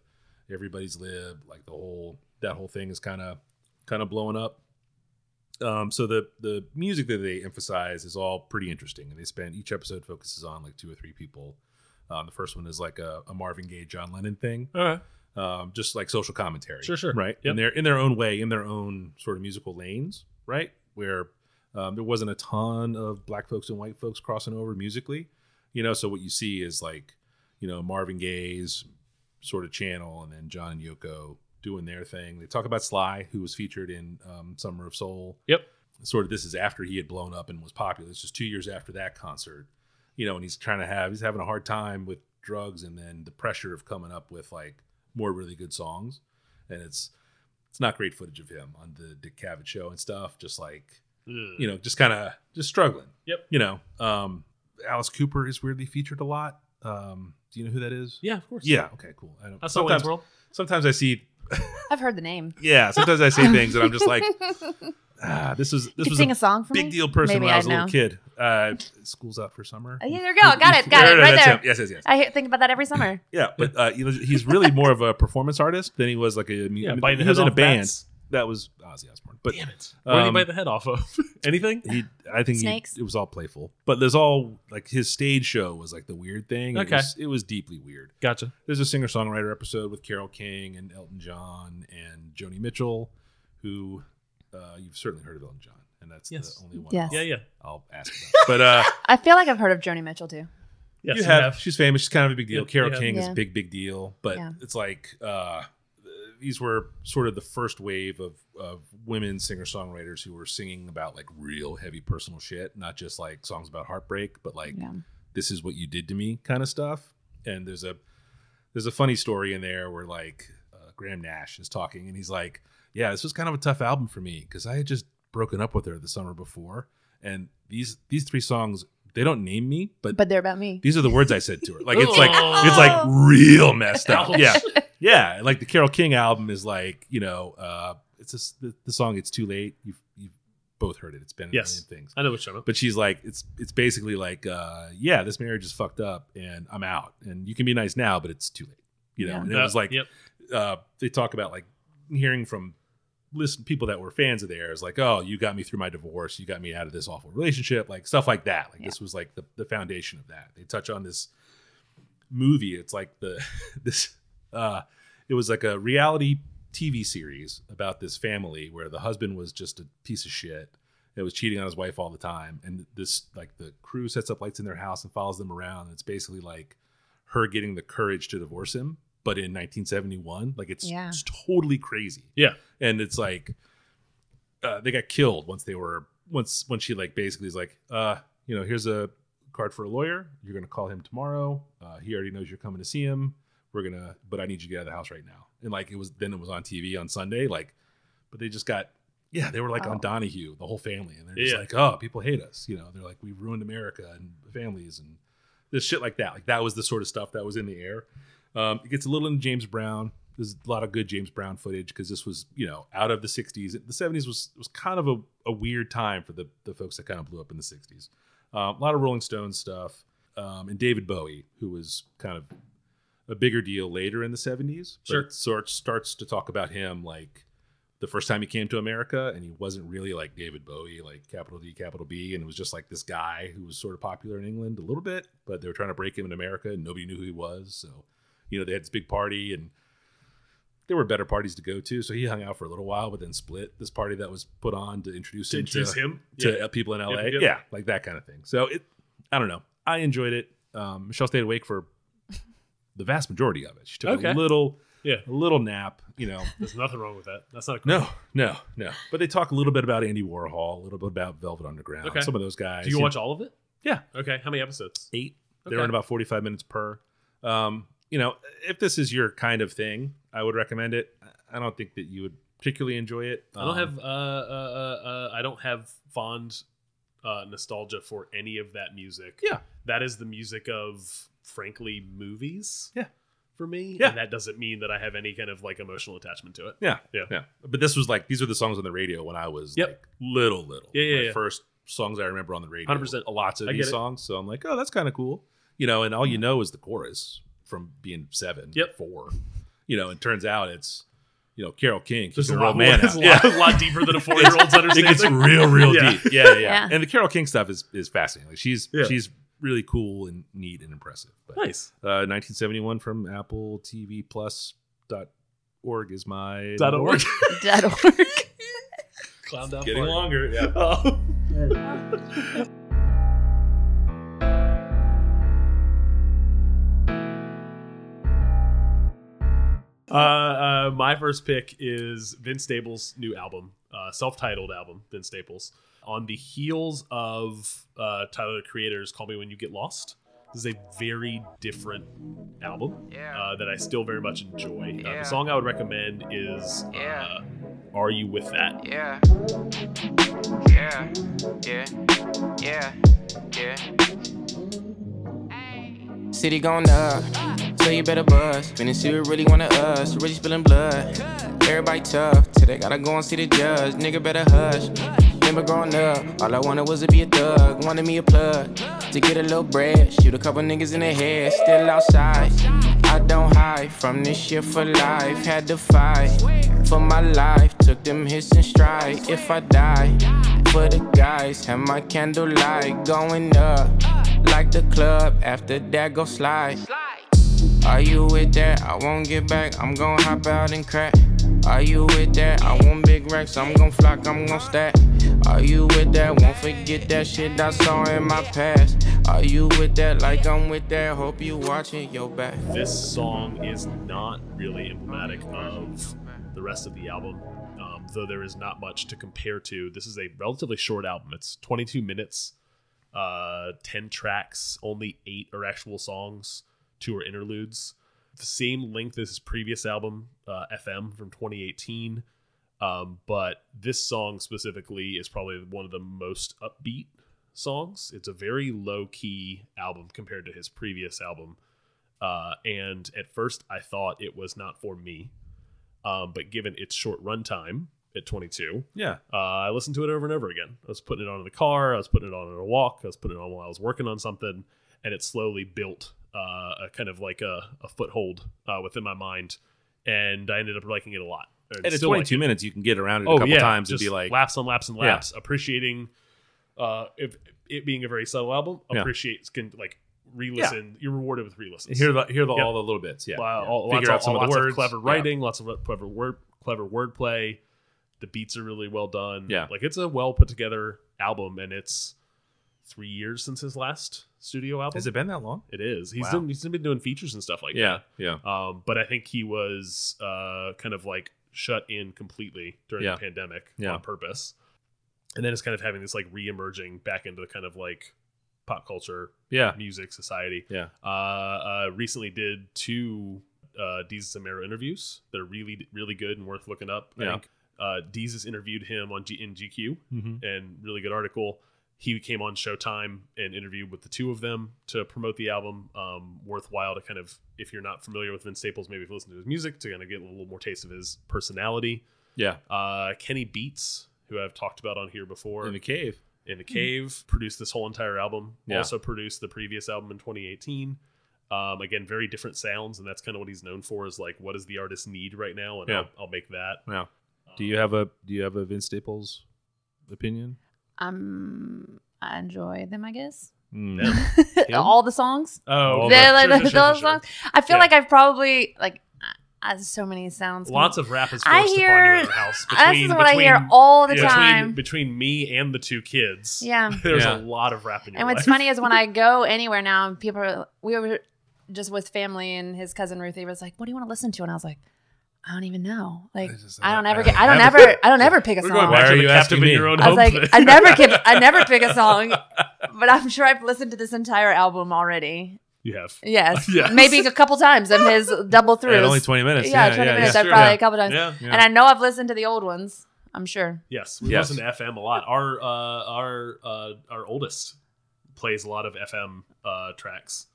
everybody's lib like the whole that whole thing is kind of kind of blowing up um, so the the music that they emphasize is all pretty interesting and they spend each episode focuses on like two or three people um, the first one is like a, a Marvin Gaye, John Lennon thing, All right. um, just like social commentary. Sure, sure. Right. Yep. In their in their own way, in their own sort of musical lanes, right? Where um, there wasn't a ton of black folks and white folks crossing over musically, you know. So what you see is like, you know, Marvin Gaye's sort of channel, and then John and Yoko doing their thing. They talk about Sly, who was featured in um, Summer of Soul. Yep. Sort of this is after he had blown up and was popular. It's just two years after that concert you know, and he's trying to have he's having a hard time with drugs and then the pressure of coming up with like more really good songs. And it's it's not great footage of him on the Dick Cavett show and stuff, just like you know, just kind of just struggling. Yep. You know, um, Alice Cooper is weirdly featured a lot. Um, do you know who that is? Yeah. Of course. Yeah. Okay. Cool. I don't. I saw Wayne's sometimes, World. sometimes I see. I've heard the name. Yeah. Sometimes I see things and I'm just like, ah, this is You this could was sing a a song for me. big deal person Maybe when I was I'd a little know. kid. Uh, school's out for summer. Oh, yeah, there you go. Got it. Got Yeah, it. no, Right that's there. him. Yes. Yes. Yes. I hear, think about that every summer. Yeah, but uh, you know, he's really more of a performance artist than he was like a mu- Yeah, biting he the was heads in a off band bats. that was Ozzy Osbourne. But Damn it. What did he Um, bite the head off of? Anything? he, I think he- Snakes. it was all playful. But there's all like his stage show was like the weird thing. It Okay. was, it was deeply weird. Gotcha. There's a singer songwriter episode with Carol King and Elton John and Joni Mitchell, who uh, you've certainly heard of Elton John, and that's Yes. the only one. Yes. I'll, Yeah. Yeah. I'll ask about. But uh, I feel like I've heard of Joni Mitchell too. Yes, you have, She's famous. She's kind of a big deal. Yeah, Carol you have. King is Yeah. a big, big deal. But Yeah. it's like uh, these were sort of the first wave of, of women singer songwriters who were singing about like real heavy personal shit, not just like songs about heartbreak, but like Yeah. this is what you did to me kind of stuff. And there's a there's a funny story in there where like uh, Graham Nash is talking and he's like, "Yeah, this was kind of a tough album for me because I had just broken up with her the summer before, and these these three songs." They don't name me, but But they're about me. these are the words I said to her. Like it's like Oh. it's like real messed up. Ouch. Yeah, yeah. and, Like the Carol King album is like you know, uh, it's just the, the song. It's too late. You've you've both heard it. It's been a Yes. million things. I know which one. But she's like, it's it's basically like, uh, yeah, this marriage is fucked up, and I'm out. And you can be nice now, but it's too late. You know. Yeah. And it was like Yep. uh, they talk about like hearing from listen people that were fans of theirs like oh you got me through my divorce you got me out of this awful relationship like stuff like that like Yeah. this was like the, the foundation of that they touch on this movie it's like the this uh it was like a reality tv series about this family where the husband was just a piece of shit that was cheating on his wife all the time and this like the crew sets up lights in their house and follows them around it's basically like her getting the courage to divorce him but in 1971, like it's, Yeah. it's totally crazy. Yeah. and it's like uh, they got killed once they were once once she like basically is like uh you know here's a card for a lawyer you're gonna call him tomorrow uh, he already knows you're coming to see him we're gonna but i need you to get out of the house right now and like it was then it was on tv on sunday like but they just got yeah they were like Oh. on donahue the whole family and they're just Yeah. like oh people hate us you know they're like we ruined america and families and this shit like that like that was the sort of stuff that was in the air um, it gets a little into James Brown. There's a lot of good James Brown footage because this was, you know, out of the '60s. The '70s was was kind of a, a weird time for the the folks that kind of blew up in the '60s. Um, a lot of Rolling Stones stuff um, and David Bowie, who was kind of a bigger deal later in the '70s. But Sure. it sort starts to talk about him like the first time he came to America, and he wasn't really like David Bowie, like capital D, capital B, and it was just like this guy who was sort of popular in England a little bit, but they were trying to break him in America, and nobody knew who he was. So, you know, they had this big party, and there were better parties to go to. So he hung out for a little while, but then split this party that was put on to introduce To him introduce him. to Yeah. people in LA. Yeah. Yeah, like that kind of thing. So it, I don't know. I enjoyed it. Um, Michelle stayed awake for the vast majority of it. She took Okay. a little, Yeah. a little nap. You know, There's nothing wrong with that. That's not a crime. no, no, no. But they talk a little bit about Andy Warhol, a little bit about Velvet Underground, Okay. some of those guys. Do you watch all of it? Yeah. Okay. How many episodes? eight? Okay. They're in about forty-five minutes per. Um, you know, if this is your kind of thing, I would recommend it. I don't think that you would particularly enjoy it. I don't Um, have uh, uh, uh, uh, I don't have fond uh, nostalgia for any of that music. Yeah. that is the music of frankly movies. Yeah. for me. Yeah. and that doesn't mean that I have any kind of like emotional attachment to it. Yeah, Yeah. yeah. But this was like these are the songs on the radio when I was Yep. like little, little. Yeah, yeah, My yeah. First songs I remember on the radio. 100%. Lots of I get these it. Mm. songs, so I'm like, oh, that's kind of cool, you know. And all you know is the chorus from being seven, Yep. four, you know. And turns out it's you know Carol King. There's She's a real lot, man. there's out. a Yeah. lot, a lot deeper than a four year old's It understanding. gets real, real Yeah. deep. Yeah, yeah, yeah. Yeah. And the Carol King stuff is is fascinating. Like she's Yeah. she's really cool and neat and impressive. But nice. uh, 1971 from Apple TV Plus dot org is my Dot number org. one. Dot org. Clown down Getting fart. longer. Yeah. Oh. Uh, uh, my first pick is Vince Staples' new album, uh, self-titled album, Vince Staples, on the heels of uh, Tyler the Creator's "Call Me When You Get Lost." This is a very different album uh, that I still very much enjoy. Uh, Yeah. the song I would recommend is Yeah. uh, "Are You With That." Yeah. Yeah. Yeah. Yeah. Yeah. City gone up, so you better buzz. Finish you really wanna us, really spilling blood. Everybody tough, till they gotta go and see the judge. Nigga better hush. Remember growing up, all I wanted was to be a thug. Wanted me a plug to get a little bread. Shoot a couple niggas in the head, still outside. I don't hide from this shit for life. Had to fight for my life. Took them hits and stride. If I die for the guys, have my candlelight going up like the club. After that, go slide. Are you with that? I won't get back. I'm gon' hop out and crack. Are you with that? I want big racks. I'm gon' flock. I'm gon' stack. Are you with that? Won't forget that shit I saw in my past. Are you with that? Like I'm with that. Hope you watching your back. this song is not really emblematic of the rest of the album, um, though there is not much to compare to. This is a relatively short album. It's 22 minutes, uh, 10 tracks, only eight are actual songs, two are interludes. The same length as his previous album, uh, FM, from 2018. Um, but this song specifically is probably one of the most upbeat songs. It's a very low key album compared to his previous album uh, and at first I thought it was not for me. Um, but given its short runtime at 22, Yeah. uh, I listened to it over and over again. I was putting it on in the car, I was putting it on in a walk, I was putting it on while I was working on something, and it slowly built uh, a kind of like a, a foothold uh, within my mind, and I ended up liking it a lot. And at still like 22 minutes, you can get around it a oh, couple yeah. times and Just be like, laps on laps and Yeah. laps, appreciating uh, if it being a very subtle album, Yeah. appreciates can like re-listen. You're rewarded with re-listens. hear the, hear the, Yep. all the little bits. Yeah. Wow, yeah. all- lots, Figure out some of, of the lots words. of clever Yeah. writing, lots of clever word, clever wordplay. The beats are really well done. Yeah. like it's a well put together album, and it's three years since his last studio album. Has it been that long? it is. He's Wow. done, he's been doing features and stuff like that. yeah. Um, but I think he was uh, kind of like shut in completely during Yeah. the pandemic Yeah. on purpose. And then it's kind of having this like re-emerging back into the kind of like pop culture, Yeah. music, society. Yeah. Uh, uh, recently did two uh, Deezus and Mero interviews. They're really, really good and worth looking up. I Yeah. think uh, Deezus interviewed him on G- in GQ Mm-hmm. and really good article. He came on Showtime and interviewed with the two of them to promote the album. Um, worthwhile to kind of, if you're not familiar with Vince Staples, maybe if you listen to his music to kind of get a little more taste of his personality. Yeah. Uh, Kenny Beats, who I've talked about on here before, In the cave. in Mm-hmm. the cave produced this whole entire album Yeah. also produced the previous album in 2018 um, again very different sounds and that's kind of what he's known for is like what does the artist need right now and Yeah. I'll, I'll make that Wow. Do you have a Do you have a Vince Staples opinion? Um, I enjoy them, I guess. Mm. Yeah. All the songs. oh All They're the- like sure, the- sure, sure, those sure. songs. I feel Yeah. like I've probably like I- I- so many sounds. lots of rap is forced I upon hear- you in the house This between, is what I between, hear all the between, time. between me and the two kids yeah. there's Yeah. a lot of rap in your And what's life. funny is when I go anywhere now, people are, we were just with family and his cousin Ruthie was like, "What do you want to listen to?" And I was like, "I don't even know. Like, I just- I don't I ever don't get. I don't have ever. a- I don't ever pick a we're song. going Why back are to the you captive asking in me? your own I was home like, thing. I never pick. I never pick a song. But I'm sure I've listened to this entire album already. you have Yes, Yes. maybe a couple times of his double Yeah, throughs. only twenty minutes. yeah, Yeah, 20 yeah, minutes. yeah. I've sure. probably Yeah. a couple times, Yeah, yeah. and I know I've listened to the old ones. I'm sure. Yes, we Yes. listen to FM a lot. Our uh, our uh, our oldest plays a lot of FM uh, tracks.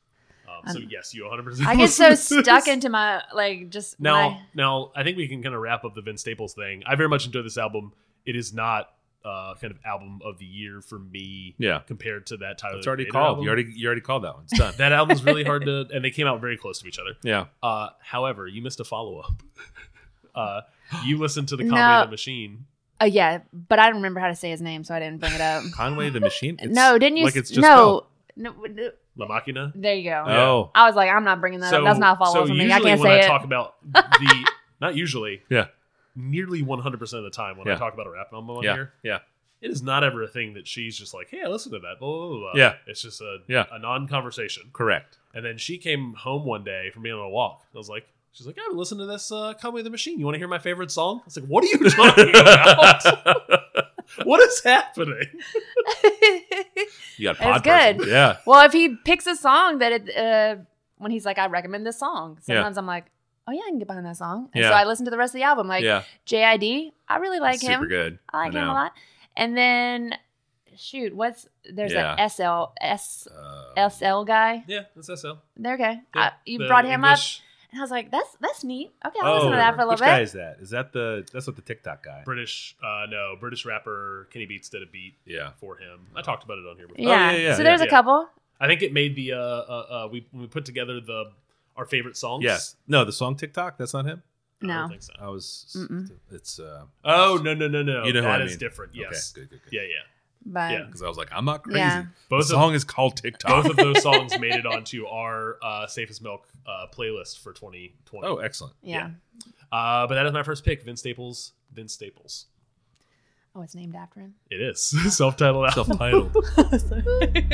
Um, so Um, yes, you 100. percent I get so stuck into my like just now. my- Now I think we can kind of wrap up the Vince Staples thing. I very much enjoy this album. It is not uh, kind of album of the year for me. Yeah. Uh, compared to that Tyler, It's already the Creator called. album. You already you already called that one. It's done. that album's really hard to, and they came out very close to each other. yeah. Uh, however, you missed a follow up. Uh, you listened to the No. Comedy of the Machine. Uh, yeah, but I don't remember how to say his name, so I didn't bring it up. Conway the Machine. It's no, didn't you? Like s- it's just no, no, no, La Machina. there you go. Oh. I was like, I'm not bringing that up. That's not a follow up so for me. I usually can't when say I it. talk about the not usually, Yeah. nearly 100 percent of the time when I Yeah. talk about a rap album on Yeah. here, Yeah. it is not ever a thing that she's just like, "Hey, I listened to that." Blah, blah, blah, blah. Yeah. it's just a Yeah. a non-conversation. Correct. And then she came home one day from being on a walk. I was like, "She's like, I've been listening to this uh, Conway the Machine. You want to hear my favorite song?" I was like, "What are you talking about? what is happening?" You got It's pod person. good. Yeah. well, if he picks a song that it, uh, when he's like, I recommend this song, Yeah. sometimes I'm like, oh yeah, I can get behind that song. And Yeah. so I listen to the rest of the album. Like, yeah. JID, I really like Super him. good. I like I him a know. lot. And then, shoot, what's, there's Yeah. an SL, S, Uh, SL guy. yeah, that's SL. They're okay. Yeah, I, Uh, you the brought him English up. And I was like, that's that's neat. Okay, I'll oh, listen to that for a which little guy bit. is that? Is that the that's what the TikTok guy? British, uh, no, British rapper Kenny Beats did a beat Yeah. for him. I talked about it on here before. Yeah. Oh, yeah, yeah, Oh, So there's yeah. a couple. I think it made the uh, uh, uh we when we put together the our favorite songs. Yes. No, the song TikTok. That's not him. I No. don't think so. I was. Mm-mm. It's. uh Oh no no no no! You know who that I is mean. different. Yes. Okay. Good. Good. good. Yeah yeah. But Yeah. Because I was like, I'm not crazy. Yeah. The Both of, song is called TikTok. both of those songs made it onto our uh, Safe as Milk uh, playlist for 2020. oh, excellent. yeah. Uh, but that is my first pick. Vince Staples. Vince Staples. Oh, it's named after him. It is self-titled. album. Self-titled.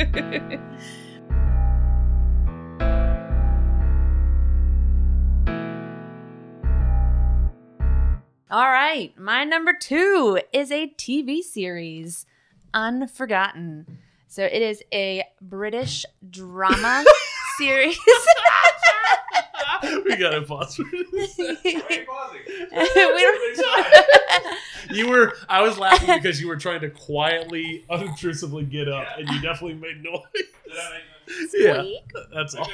All right, my number two is a TV series, Unforgotten. So it is a British drama series. we got to pause for this. We- you were. I was laughing because you were trying to quietly, unobtrusively get up, and you definitely made noise. yeah, that's all.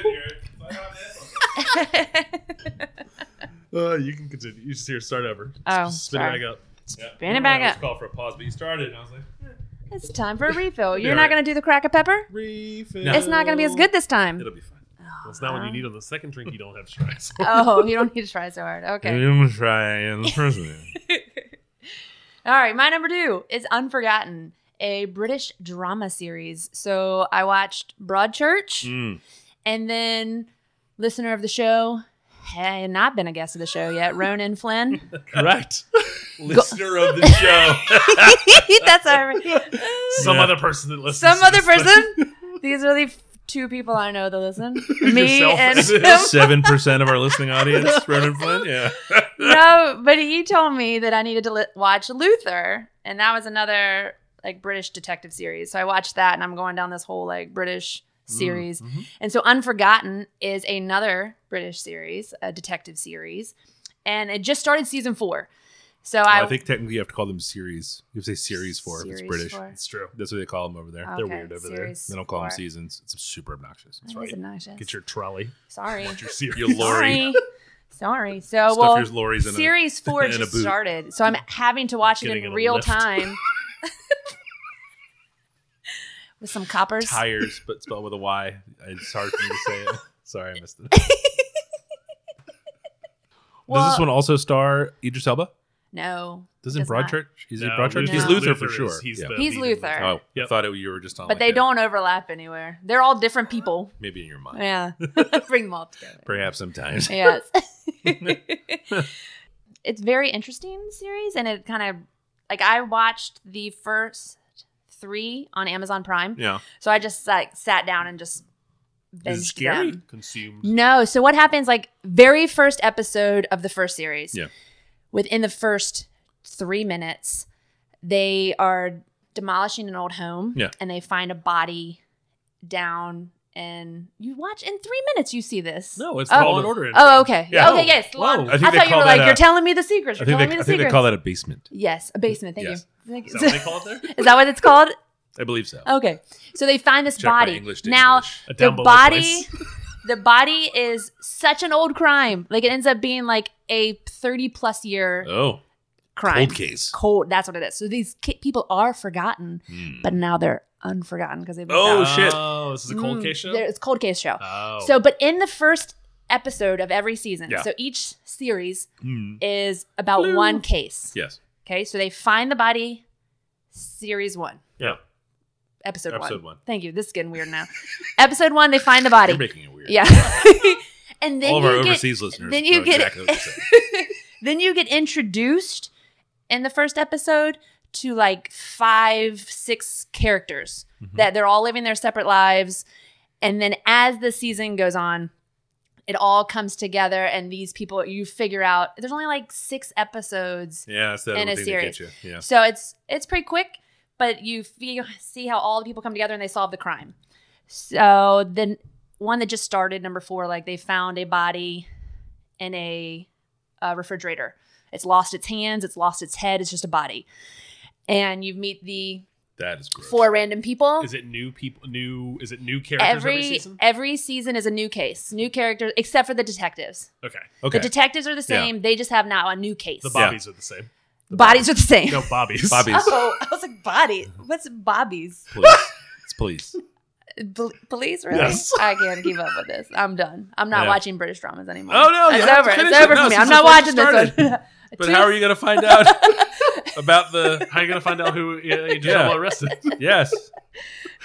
Uh, you can continue. You just hear start over. Oh, Just spin sorry. it back up. Spin it back up. Call for a pause, but you started. I was like, It's time for a refill. You're Yeah, not right. going to do the crack of pepper? Refill. It's not going to be as good this time. it'll be fine. That's not what you need on the second drink. You don't have to try. So. Oh, you don't need to try so hard. Okay. I'm gonna try in the prison. All right, my number two is Unforgotten, a British drama series. So I watched Broadchurch Mm. and then listener of the show, had not been a guest of the show yet, Ronan Flynn. Correct. listener of the show. That's our Some Yeah. other person that listens. some to other this, but- person. These are the f- two people I know that listen. Me Yourself. and him. Seven percent of our listening audience, Ronan Flynn. Yeah. no, but he told me that I needed to li- watch Luther, and that was another like British detective series. So I watched that, and I'm going down this whole like British Mm-hmm, series. Mhm. And so Unforgotten is another British series, a detective series, and it just started season four. So I, Oh, I think technically you have to call them series. You have to say series four if it's Series British. four. It's true. That's what they call them over there. They're weird over there. series They don't call them four. seasons. It's super obnoxious. That is right. obnoxious. Get your trolley. sorry, Your serious. Your lorry. sorry, sorry. So Stuff well, your lorries in it. series four in a just boot. started, so I'm having to watch it Getting in in a real lift. time with some coppers. Tires, but spelled with a Y. It's hard for me to say it. Sorry, I missed it. Does this Well- one also star Idris Elba? No, Doesn't does not. Broadchurch? He's No, Broadchurch. Luther- He's Luther, for is- sure. He's, Yeah. the He's leading- Luther. Oh, I Yep. thought it, you were just on. but like they a- don't overlap anywhere. They're all different people. Maybe in your mind. Yeah, bring them all together. Perhaps sometimes. yes. it's very interesting series and it kind of like I watched the first 3 on Amazon Prime. Yeah. So I just like sat down and just binged Is it scary? them. Consumed. No, so what happens like very first episode of the first series. Yeah. Within the first 3 minutes, they are demolishing an old home Yeah. and they find a body down and you watch in 3 minutes you see this. No, it's Oh. Law and Order. Oh, okay. Yeah. Okay, yes. Whoa. Lon- I I, think they thought you call were that like, a- you're telling me the secrets. I You're think, telling they, me the I think secrets. they call that a basement. yes, a basement. Thank Yes. you. Is that what they call it there? Is that what it's called? I believe so. Okay. So they find this Check my body. English to now, English. A the down below body, place. the body is such an old crime. Like it ends up being like a 30 plus year Oh, crime. old case. Cold. That's what it is. So these ki- people are forgotten, Hmm. but now they're unforgotten because they've moved Oh, out. shit. Oh, this is a cold Mm, case show? there- It's cold case show. Oh. So, but in the first episode of every season, Yeah. so each series Hmm. is about Hello. one case. Yes. Okay, so they find the body, series one, Yeah. episode, Episode one. one. Thank you. This is getting weird now. episode one, they find the body. You're making it weird. yeah. and then All of you our get, overseas listeners. then you know get exactly what you're saying. then you get introduced in the first episode to like five, six characters Mm-hmm. that they're all living their separate lives. And then as the season goes on, it all comes together and these people you figure out there's only like six episodes Yeah, that's the In other a thing that series. gets you. Yeah. So it's it's pretty quick, but you feel, see how all the people come together and they solve the crime. So then one that just started number four, like they found a body in a, uh refrigerator. It's lost its hands, it's lost its head, it's just a body. And you meet the That is gross. four random people. Is it new people? New? Is it new characters every, Every season? every season is a new case, new characters, except for the detectives. okay, okay. e-, The detectives are the Yeah. same; they just have now a new case. the bobbies are the same. bodies are the same. No bobbies. Bobbies. Oh, I was like, body. What's bodies? Police. It's police. Bel- Police, really? Yes. I can't keep up with this. I'm done. I'm not Yeah. watching British dramas anymore. Oh, no, you it's have over. to finish It's it. over No, for me. since I'm the not first watching this started. one. But Two- how are you going to find out about the? How are you gonna find out who uh, Idris Yeah. Elba arrested? Yes,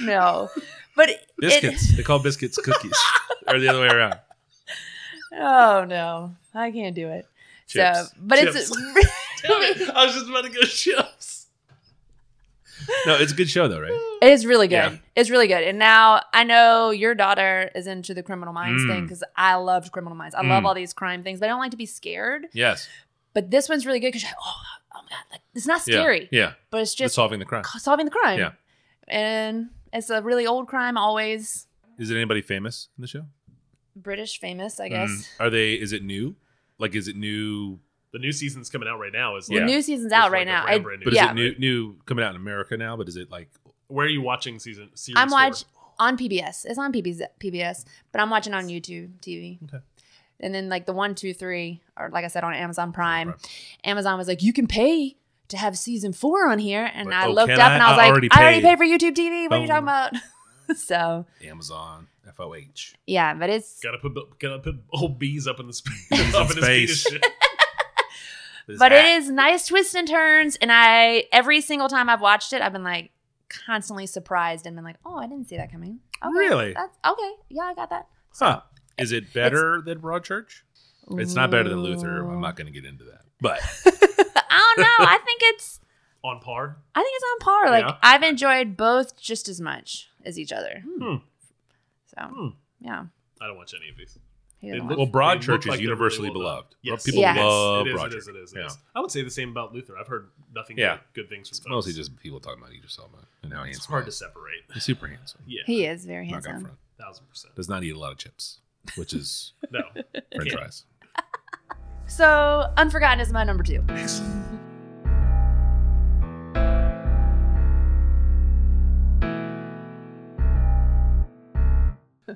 No, but it- biscuits. they call biscuits cookies, or the other way around. oh no, I can't do it. So, Chips. but it's I was just about to go chips. No, it's a good show though, right? it is really good. Yeah. It's really good. And now I know your daughter is into the Criminal Minds Mm. thing because I loved Criminal Minds. I love Mm. all these crime things, but I don't like to be scared. Yes. But this one's really good because oh, oh my god, like, it's not Yeah. scary, Yeah. but it's Just just solving the crime. solving the crime. Yeah. And it's a really old crime, always Is it anybody famous in the show? British famous, I guess. Mm. Are they? Is it new? Like, is it new? The new season's coming out right now. Is The like, new season's It's out like right a now. brand I- brand new- But yeah, is it new? New coming out in America now? But is it like? where are you watching season? Series I'm four? watch on PBS. It's on PBS, PBS, but I'm watching on YouTube TV. Okay. And then like the one, two, three, or like I said on Amazon Prime. Right. Amazon was like, you can pay to have season four on here, and Like, I oh, looked can up I? and I was I like, already I already paid paid. for YouTube TV. What are you talking about? so Amazon FOH. yeah, but it's Gotta put gotta put old bees up in the space. up in his space. penis shit. but it is nice twists and turns, and I every single time I've watched it, I've been like constantly surprised and been like, oh, I didn't see that coming. Okay, Really? That's okay. Yeah, I got that. Huh. Is it better than Broadchurch? It's not better than Luther. I'm not going to get into that. But I don't know. I think it's On par. I think it's on par. Like Yeah. I've enjoyed both just as much as each other. Hmm. So Hmm. yeah. I don't watch any of these. Either It one. look- well, they Broadchurch look is like they're universally really well done. beloved. Yes. People Yes. love it is, Broadchurch. it is, it is, it Yeah. is. I would say the same about Luther. I've heard nothing Yeah. but good things from folks. Mostly just people talking about Idris Elba and how handsome. It's hard he to is. separate. He's super handsome. Yeah. he is very Not gonna handsome. front. Thousand percent. Does not eat a lot of chips, which is No. French Yeah. fries. So Unforgotten is my number two.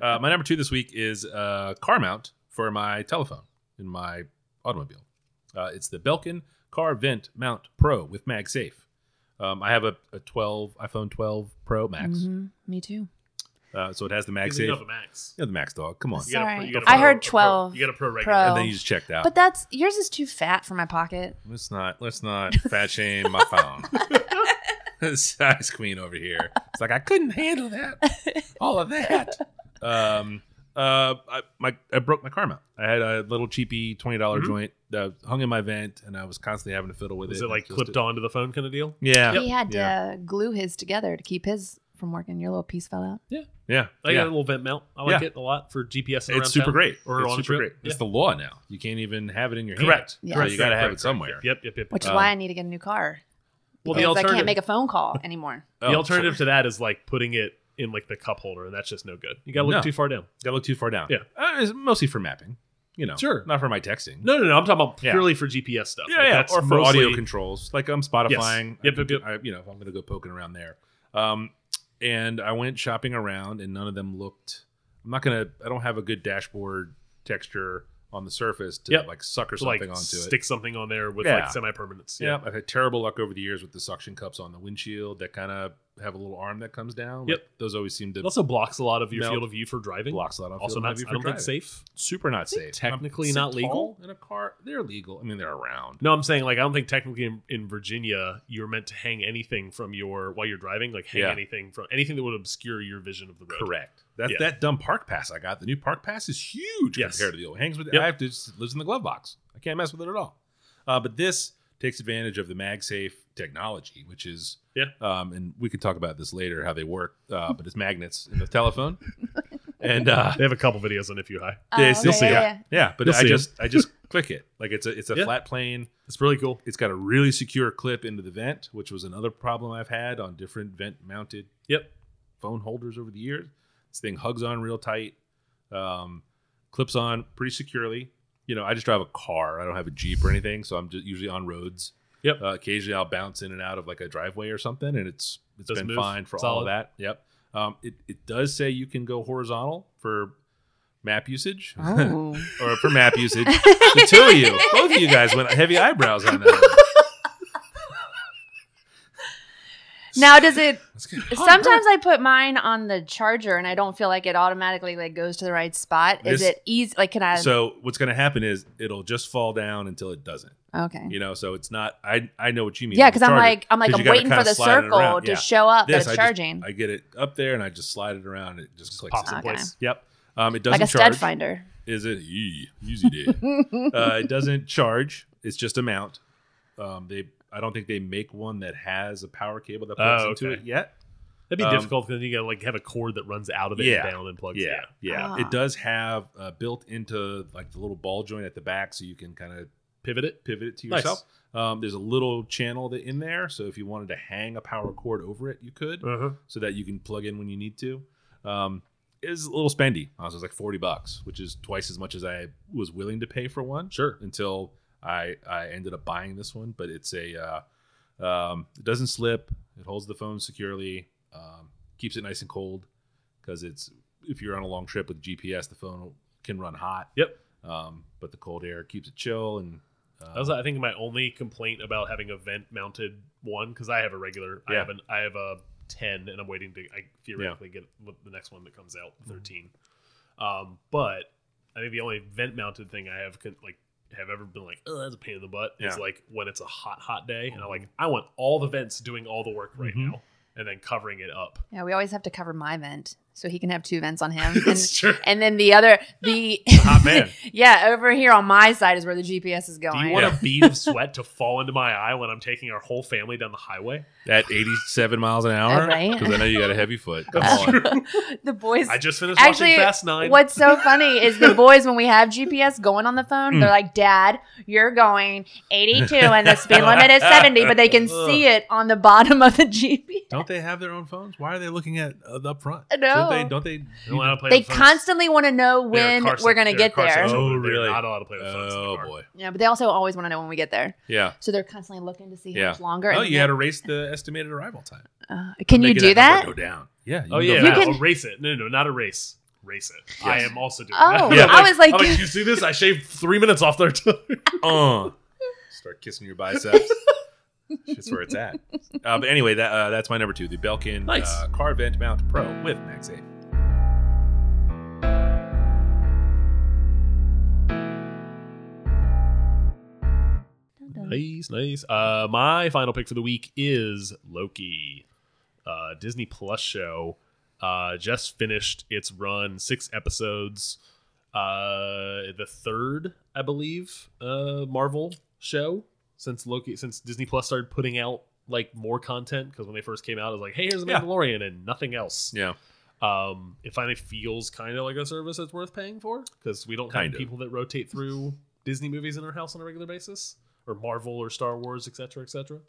Uh, my number two this week is uh, car mount for my telephone in my automobile. Uh, it's the Belkin Car Vent Mount Pro with MagSafe. Um, I have a, a 12 iPhone 12 Pro Max, Mhm. Me too. uh, so it has the Gives you MagSafe. enough of Max. Yeah, the Max dog. Come on, So- You gotta Sorry. you gotta I heard a pro- 12 You got a pro regular. Pro. and then you just checked out. But that's yours is too fat for my pocket. let's not let's not fat shame my phone. Size queen over here. It's like I couldn't handle that. All of that. Um. Uh. I my I broke my car mount. I had a little cheapy twenty Mhm. joint that hung in my vent, and I was constantly having to fiddle with Is it. it like Just clipped onto the phone kind of deal? Yeah. He had to Yeah. glue his together to keep his from working. Your little piece fell out. Yeah. I yeah. got Oh, a little vent mount. I like Yeah. it a lot for GPS. around It's super town great. Or it's on a super trip. great. It's the law now. You can't even have it in your hand. Correct. Yeah. So you got to Correct, have correct, it somewhere. Yep, yep, yep. Which is Um, why I need to get a new car. Well, the Because I alternative. can't make a phone call anymore. Oh, the alternative to that is like putting it in like the cup holder, and that's just no good. You gotta look No. too far down. Gotta look too far down. Yeah. Uh, it's mostly for mapping. You know. Sure. Not for my texting. No, no, no. I'm talking about Yeah. purely for GPS stuff. Yeah, Like, yeah. that's or for audio mostly- controls. Like I'm Spotifying. Yep, I can yep, do- yep. I- you know, if I'm going to go poking around there. Um, and I went shopping around, and none of them looked. I'm not gonna. I don't have a good dashboard texture on the surface to Yep. like suck or to, something like onto it. stick something on there with Yeah. like semi-permanence. Yeah, I've had terrible luck over the years with the suction cups on the windshield that kind of have a little arm that comes down. Like, Yep. those always seem to It also blocks a lot of your Melt. field of view for driving. blocks a lot of Also, field not, I of view for don't think driving. safe. Super not think safe. Um, technically Is it not legal? tall in a car. They're legal. I mean, they're around. No, I'm saying like I don't think technically in, in Virginia you're meant to hang anything from your while you're driving, like hang Yeah. anything from anything that would obscure your vision of the road. Correct. That Yeah. that dumb park pass I got. The new park pass is huge Yes. compared to the old. Hangs with. Yep. I have to just lives in the glove box. I can't mess with it at all. Uh, but this takes advantage of the MagSafe technology, which is Yeah. Um, and we could talk about this later how they work. Uh, but it's magnets in the telephone, and uh, They have a couple videos on if you high. they Oh, still okay, see yeah, it. yeah. Yeah, but You'll I see it. just I just click it. Like it's a it's a Yeah. flat plane. It's really cool. It's got a really secure clip into the vent, which was another problem I've had on different vent mounted Yep. phone holders over the years. This thing hugs on real tight, um, clips on pretty securely. You know, I just drive a car. I don't have a Jeep or anything, so I'm just usually on roads. Yep. Uh, occasionally, I'll bounce in and out of like a driveway or something, and it's it's Does been move. fine for all Solid. of that. Yep. Um, it it does say you can go horizontal for map usage Oh. or for map usage. the two of you, both of you guys, went heavy eyebrows on that. now does it That's good. sometimes I put mine on the charger and I don't feel like it automatically like goes to the right spot. Is This- it easy like can I So what's going to happen is it'll just fall down until it doesn't. Okay. You know, so it's not. I I know what you mean. Yeah, with because the I'm charger, like I'm like 'cause I'm you gotta waiting for kinda the slide it circle around. to Yeah. show up This, that I it's just- charging. I get it up there and I just slide it around. And it just clicks. Pops in it. Okay. place. Yep. Um, it doesn't like a charge. stud finder. Is it Yee, easy day? uh, it doesn't charge. It's just a mount. Um, they I don't think they make one that has a power cable that plugs Oh, into okay. it yet. That'd be Um, difficult because you gotta like have a cord that runs out of it Yeah. and down and plugs. Yeah, yeah. Ah. It does have uh, built into like the little ball joint at the back, so you can kind of Pivot it. pivot it to Nice. yourself. Um, there's a little channel that in there, so if you wanted to hang a power cord over it, you could, Uh-huh. so that you can plug in when you need to. Um, it was a little spendy. Honestly, it was like forty bucks, which is twice as much as I was willing to pay for one. Sure. Until I I ended up buying this one, but it's a uh, um, it doesn't slip. It holds the phone securely. Um, keeps it nice and cold because it's if you're on a long trip with GPS, the phone can run hot. Yep. Um, but the cold air keeps it chill and uh, That was, I think, my only complaint about having a vent mounted one because I have a regular. I Yeah. have an I have a ten, and I'm waiting to I theoretically get what the next one that comes out, the 13 Um, but I think the only vent mounted thing I have con- like have ever been like, oh, that's a pain in the butt Yeah. Mm-hmm. is like when it's a hot, hot day, and I'm like, I want all the vents doing all the work right Mhm. now, and then covering it up. Yeah, we always have to cover my vent. so he can have two vents on him. That's And, true. and then the other the Hot man. yeah over here on my side is where the GPS is Do going. you want a bead of sweat to fall into my eye when I'm taking our whole family down the highway? At 87 miles an hour? Right. Because I know you got a heavy foot. Come on. the boys I just finished Actually, watching Fast Nine. What's so funny is the boys when we have GPS going on the phone, they're like, "Dad, you're going 82 and the speed limit is 70," but they can see it on the bottom of the GPS. Don't they have their own phones? Why are they looking at uh, up front? I Don't they? know. Don't they? They're not allowed to play They on phones. constantly want to know They are when car sen- we're going to they are get car there. sensitive. Oh, They're really? Not allowed to play with phones. in the Oh car. boy. Yeah, but they also always want to know when we get there. Yeah. So they're constantly looking to see how Yeah. much longer. Oh, and you then- had to race the estimated arrival time. uh, can you Make it do that? number Go down. Yeah. Oh can go yeah, fast. You can- erase it. No, no, no, not erase. Race it. I am also doing Oh, that. Yeah. I was like- I'm you see this? I shaved three minutes off their time. uh, start kissing your biceps. That's where it's at. Uh, but anyway, that uh, that's my number two, the Belkin Nice. uh, Car Vent Mount Pro with MagSafe. nice, nice. Uh, my final pick for the week is Loki, uh, Disney Plus show. Uh, just finished its run, six episodes. Uh, the third, I believe, uh, Marvel show since Loki, since Disney Plus started putting out like more content because when they first came out, it was like, hey, here's the Yeah. Mandalorian and nothing else. Yeah. um, it finally feels kind of like a service that's worth paying for because we don't Kind have of. people that rotate through Disney movies in our house on a regular basis or Marvel or Star Wars, etc., cetera, etc. Cetera.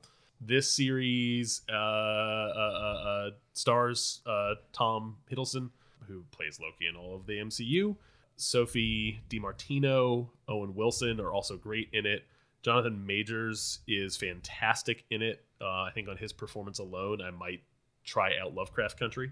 This series uh, uh, uh, uh, stars uh, Tom Hiddleston, who plays Loki in all of the MCU. Sophie DiMartino, Owen Wilson are also great in it. Jonathan Majors is fantastic in it. Uh, I think on his performance alone, I might try out Lovecraft Country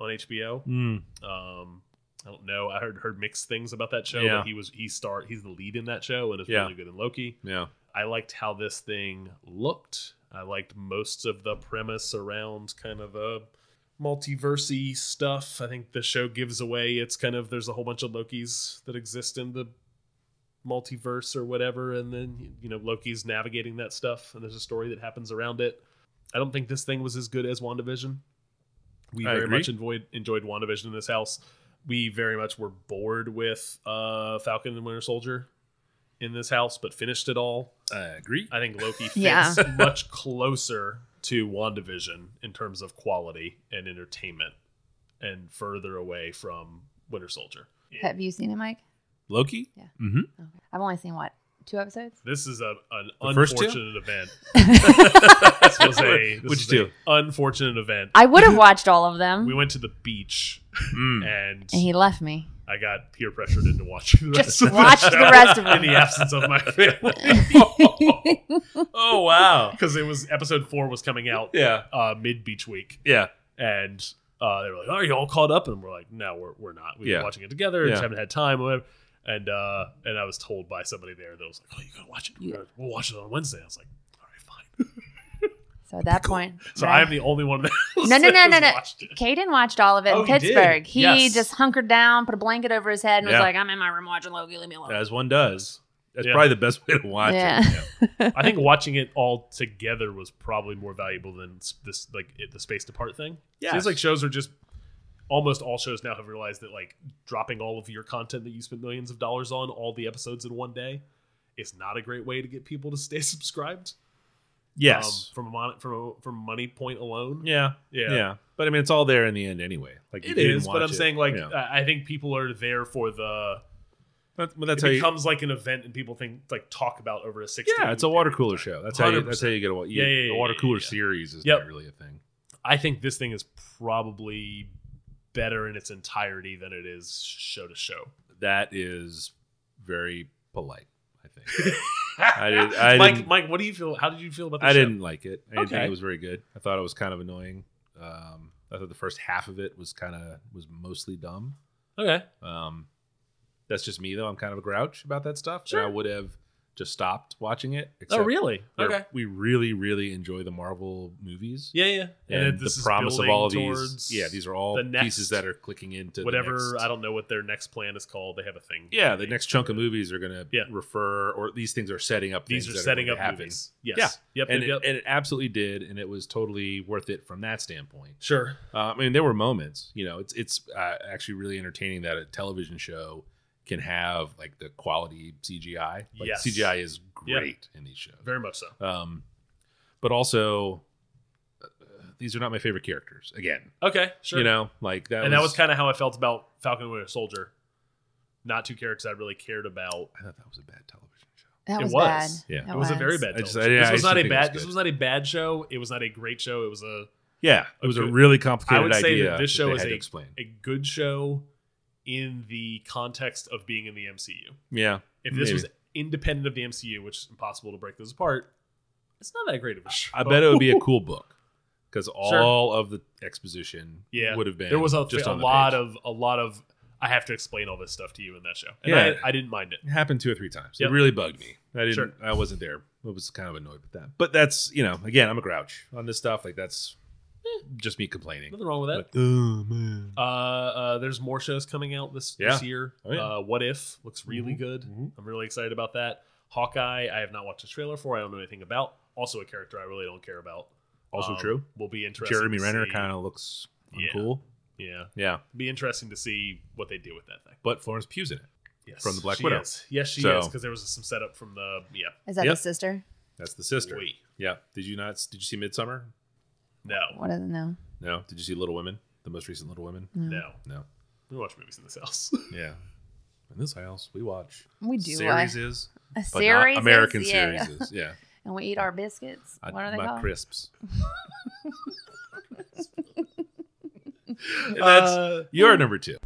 on HBO. Hmm. Um, I don't know. I heard heard mixed things about that show. Yeah. But he was he star he's the lead in that show and is Yeah. really good in Loki. Yeah. I liked how this thing looked. I liked most of the premise around kind of a multiversey stuff. I think the show gives away it's kind of there's a whole bunch of Loki's that exist in the multiverse or whatever, and then you know Loki's navigating that stuff, and there's a story that happens around it. I don't think this thing was as good as WandaVision. We I very agree. much enjoyed enjoyed WandaVision in this house. We very much were bored with uh, Falcon and Winter Soldier in this house, but finished it all. I agree. I think Loki fits Yeah. much closer to WandaVision in terms of quality and entertainment and further away from Winter Soldier. Have you seen it, Mike? Loki? Yeah. Mm-hmm. Okay. I've only seen what two episodes. This is a, an The first two? unfortunate event. this was a this Which was two? a unfortunate event. I would have watched all of them, We went to the beach Hmm. and Um, and he left me. I got peer pressured into watching the rest Just of the watch the show rest of it. in the absence of my family. Oh, wow. Because it was episode four was coming out Yeah. uh, mid beach week. Yeah. and uh, they were like, "Are you all caught up?" And we're like, "No, we're, we're not. We've Yeah. been watching it together. Just Yeah. haven't had time." Whatever. And uh, and I was told by somebody there that was like, "Oh, you gotta watch it. We're gonna- We'll watch it on Wednesday." I was like, "All right, fine." So at that point, So right? I am the only one that No, no, no, no, no. watched it. Caden watched all of it Oh, in he did? Pittsburgh. He Yes. just hunkered down, put a blanket over his head, and Yeah. was like, "I'm in my room watching Loki. Leave me alone." As one does. That's Yeah. probably the best way to watch yeah. it. I think watching it all together was probably more valuable than s- this like it, the space depart thing. Yes. seems like shows are just almost all shows now have realized that like dropping all of your content that you spent millions of dollars on all the episodes in one day is not a great way to get people to stay subscribed. Yes. um, from a mon- from a, from money point alone. Um, yeah. yeah. But I mean, it's all there in the end anyway. Like It is, but I'm saying like uh, yeah. I I think people are there for the. That's- but that's how it you. becomes like an event, and people think like talk about over a six. Yeah, it's a water cooler show. That's how you. That's how you get a. wa- You, Yeah, yeah, yeah, the water yeah, cooler yeah. series is Yep. not really a thing. I think this thing is probably better in its entirety than it is show to show. That is very polite. I think I did- I Mike, didn't- Mike, what do you feel? How did you feel about? The I show? didn't like it. I didn't think Okay. it was very good. I thought it was kind of annoying. Um, I thought the first half of it was kind of was mostly dumb. Okay. Oh, Um, that's just me though. I'm kind of a grouch about that stuff. Sure. And I would have just stopped watching it. Oh, except really? we're- Okay. We really, really enjoy the Marvel movies. Yeah, yeah. And, then this the is promise of building all of towards these. Yeah, these are all the next- pieces that are clicking into the whatever. next- I don't know what their next plan is called. They have a thing. yeah, the next chunk of movies are going to Yeah. refer, or these things are setting up. These things are that setting going up to happen. movies. Yes. Yeah, Yep. and, yep, yep. It, and it absolutely did, and it was totally worth it from that standpoint. sure. Uh, I mean, there were moments. You know, it's it's uh, actually really entertaining that a television show can have like the quality CGI. Like, Yes. CGI is Yeah. great in these shows. Very much so. Um, but also, uh, these are not my favorite characters. Again, Okay. Sure. you know, like that. and that was kind of how I felt about Falcon and Winter Soldier. Not two characters I really cared about. I thought that was a bad television show. That It was, was. bad. Yeah. That It was a very bad. I just- television yeah, show. I this was just not a didn't think it was bad. This good. was not a bad show. It was not a great show. It was a Yeah, it was a good- really I complicated would say idea. that this they show is had a, to explain. a good show in the context of being in the MCU. yeah, If this maybe. was independent of the MCU, which is impossible to break those apart, it's not that great of a show. I bet it would be a cool book because all of the exposition yeah. would have been There was a, just a on the lot page. of a lot of I have to explain all this stuff to you in that show. And Yeah. I, I didn't mind it. It happened two or three times. Yep. It really bugged me. I didn't. Sure. I wasn't there. I was kind of annoyed with that. But that's you know, again, I'm a grouch on this stuff. Like that's eh, just me complaining. Nothing wrong with that. But, oh man. Uh, uh, there's more shows coming out this, Yeah. this year. Oh, yeah. Mm-hmm. uh, what If looks really good. I'm really excited about that. Hawkeye, I have not watched a trailer for. I don't know anything about. Also, a character I really don't care about. Also Um, true. Will be interesting. Jeremy to Renner see- kind of looks Yeah. cool. Yeah, Yeah, be interesting to see what they do with that thing. but Florence Pugh's in it. Yes, From the Black she Widow. is. Yes, she So- is because there was some setup from the yeah. Is that Yep. the sister? That's the sister. Wait. Yeah. Did you not? Did you see Midsummer? No, What does it know? No. Did you see Little Women? The most recent Little Women? no, No. we watch movies in this house. Yeah. In this house, we watch We do series a, is a but series. not American is- yeah. series is. Yeah. And we eat our biscuits. I- What are they my called? crisps. And that's Uh, your number two.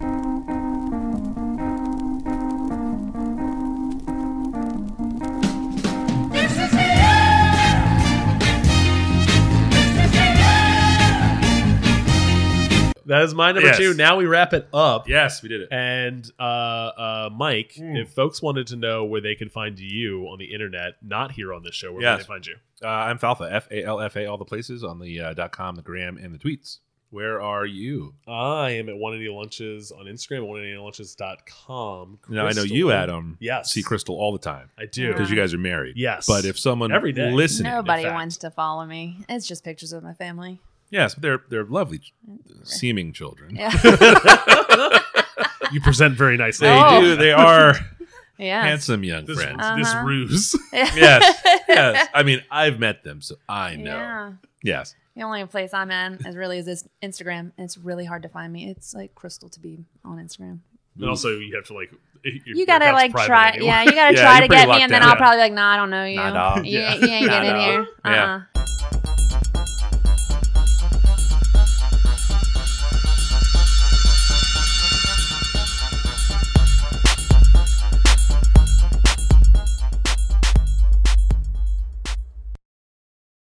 that is my number Yes. two. Now we wrap it up. Yes, we did it. And uh, uh, Mike, Hmm. Mm. if folks wanted to know where they could find you on the internet, not here on this show, where Yes. can they find you? Uh, I'm Falfa, F A L F A, all the places on the uh, dot com, the gram, and the tweets. Where are you? I am at 180 Lunches on Instagram, 180lunches.com. Now I know Crystal. you, Adam. Yes. see Crystal all the time I do. because you guys are married. Yes. but if someone Every day. listening, in Nobody fact- wants to follow me. It's just pictures of my family. Yes, but they're they're lovely, seeming children. Yeah. You present very nicely. They Oh. do. They are yes. handsome young This, friends. this Uh-huh. ruse. yes, yes. I mean, I've met them, so I know. Yeah. Yes. The only place I'm in is really is this Instagram. and It's really hard to find me. It's like crystal to be on Instagram. and also, you have to like. your- You your gotta account's like private try. anyway. Yeah, you gotta Yeah, try you're to pretty get me, locked and then down. I'll probably be like, Nah, I don't know you. Nah, dog. You, Yeah. you ain't Nah, getting in dog. here. Uh-uh. Yeah.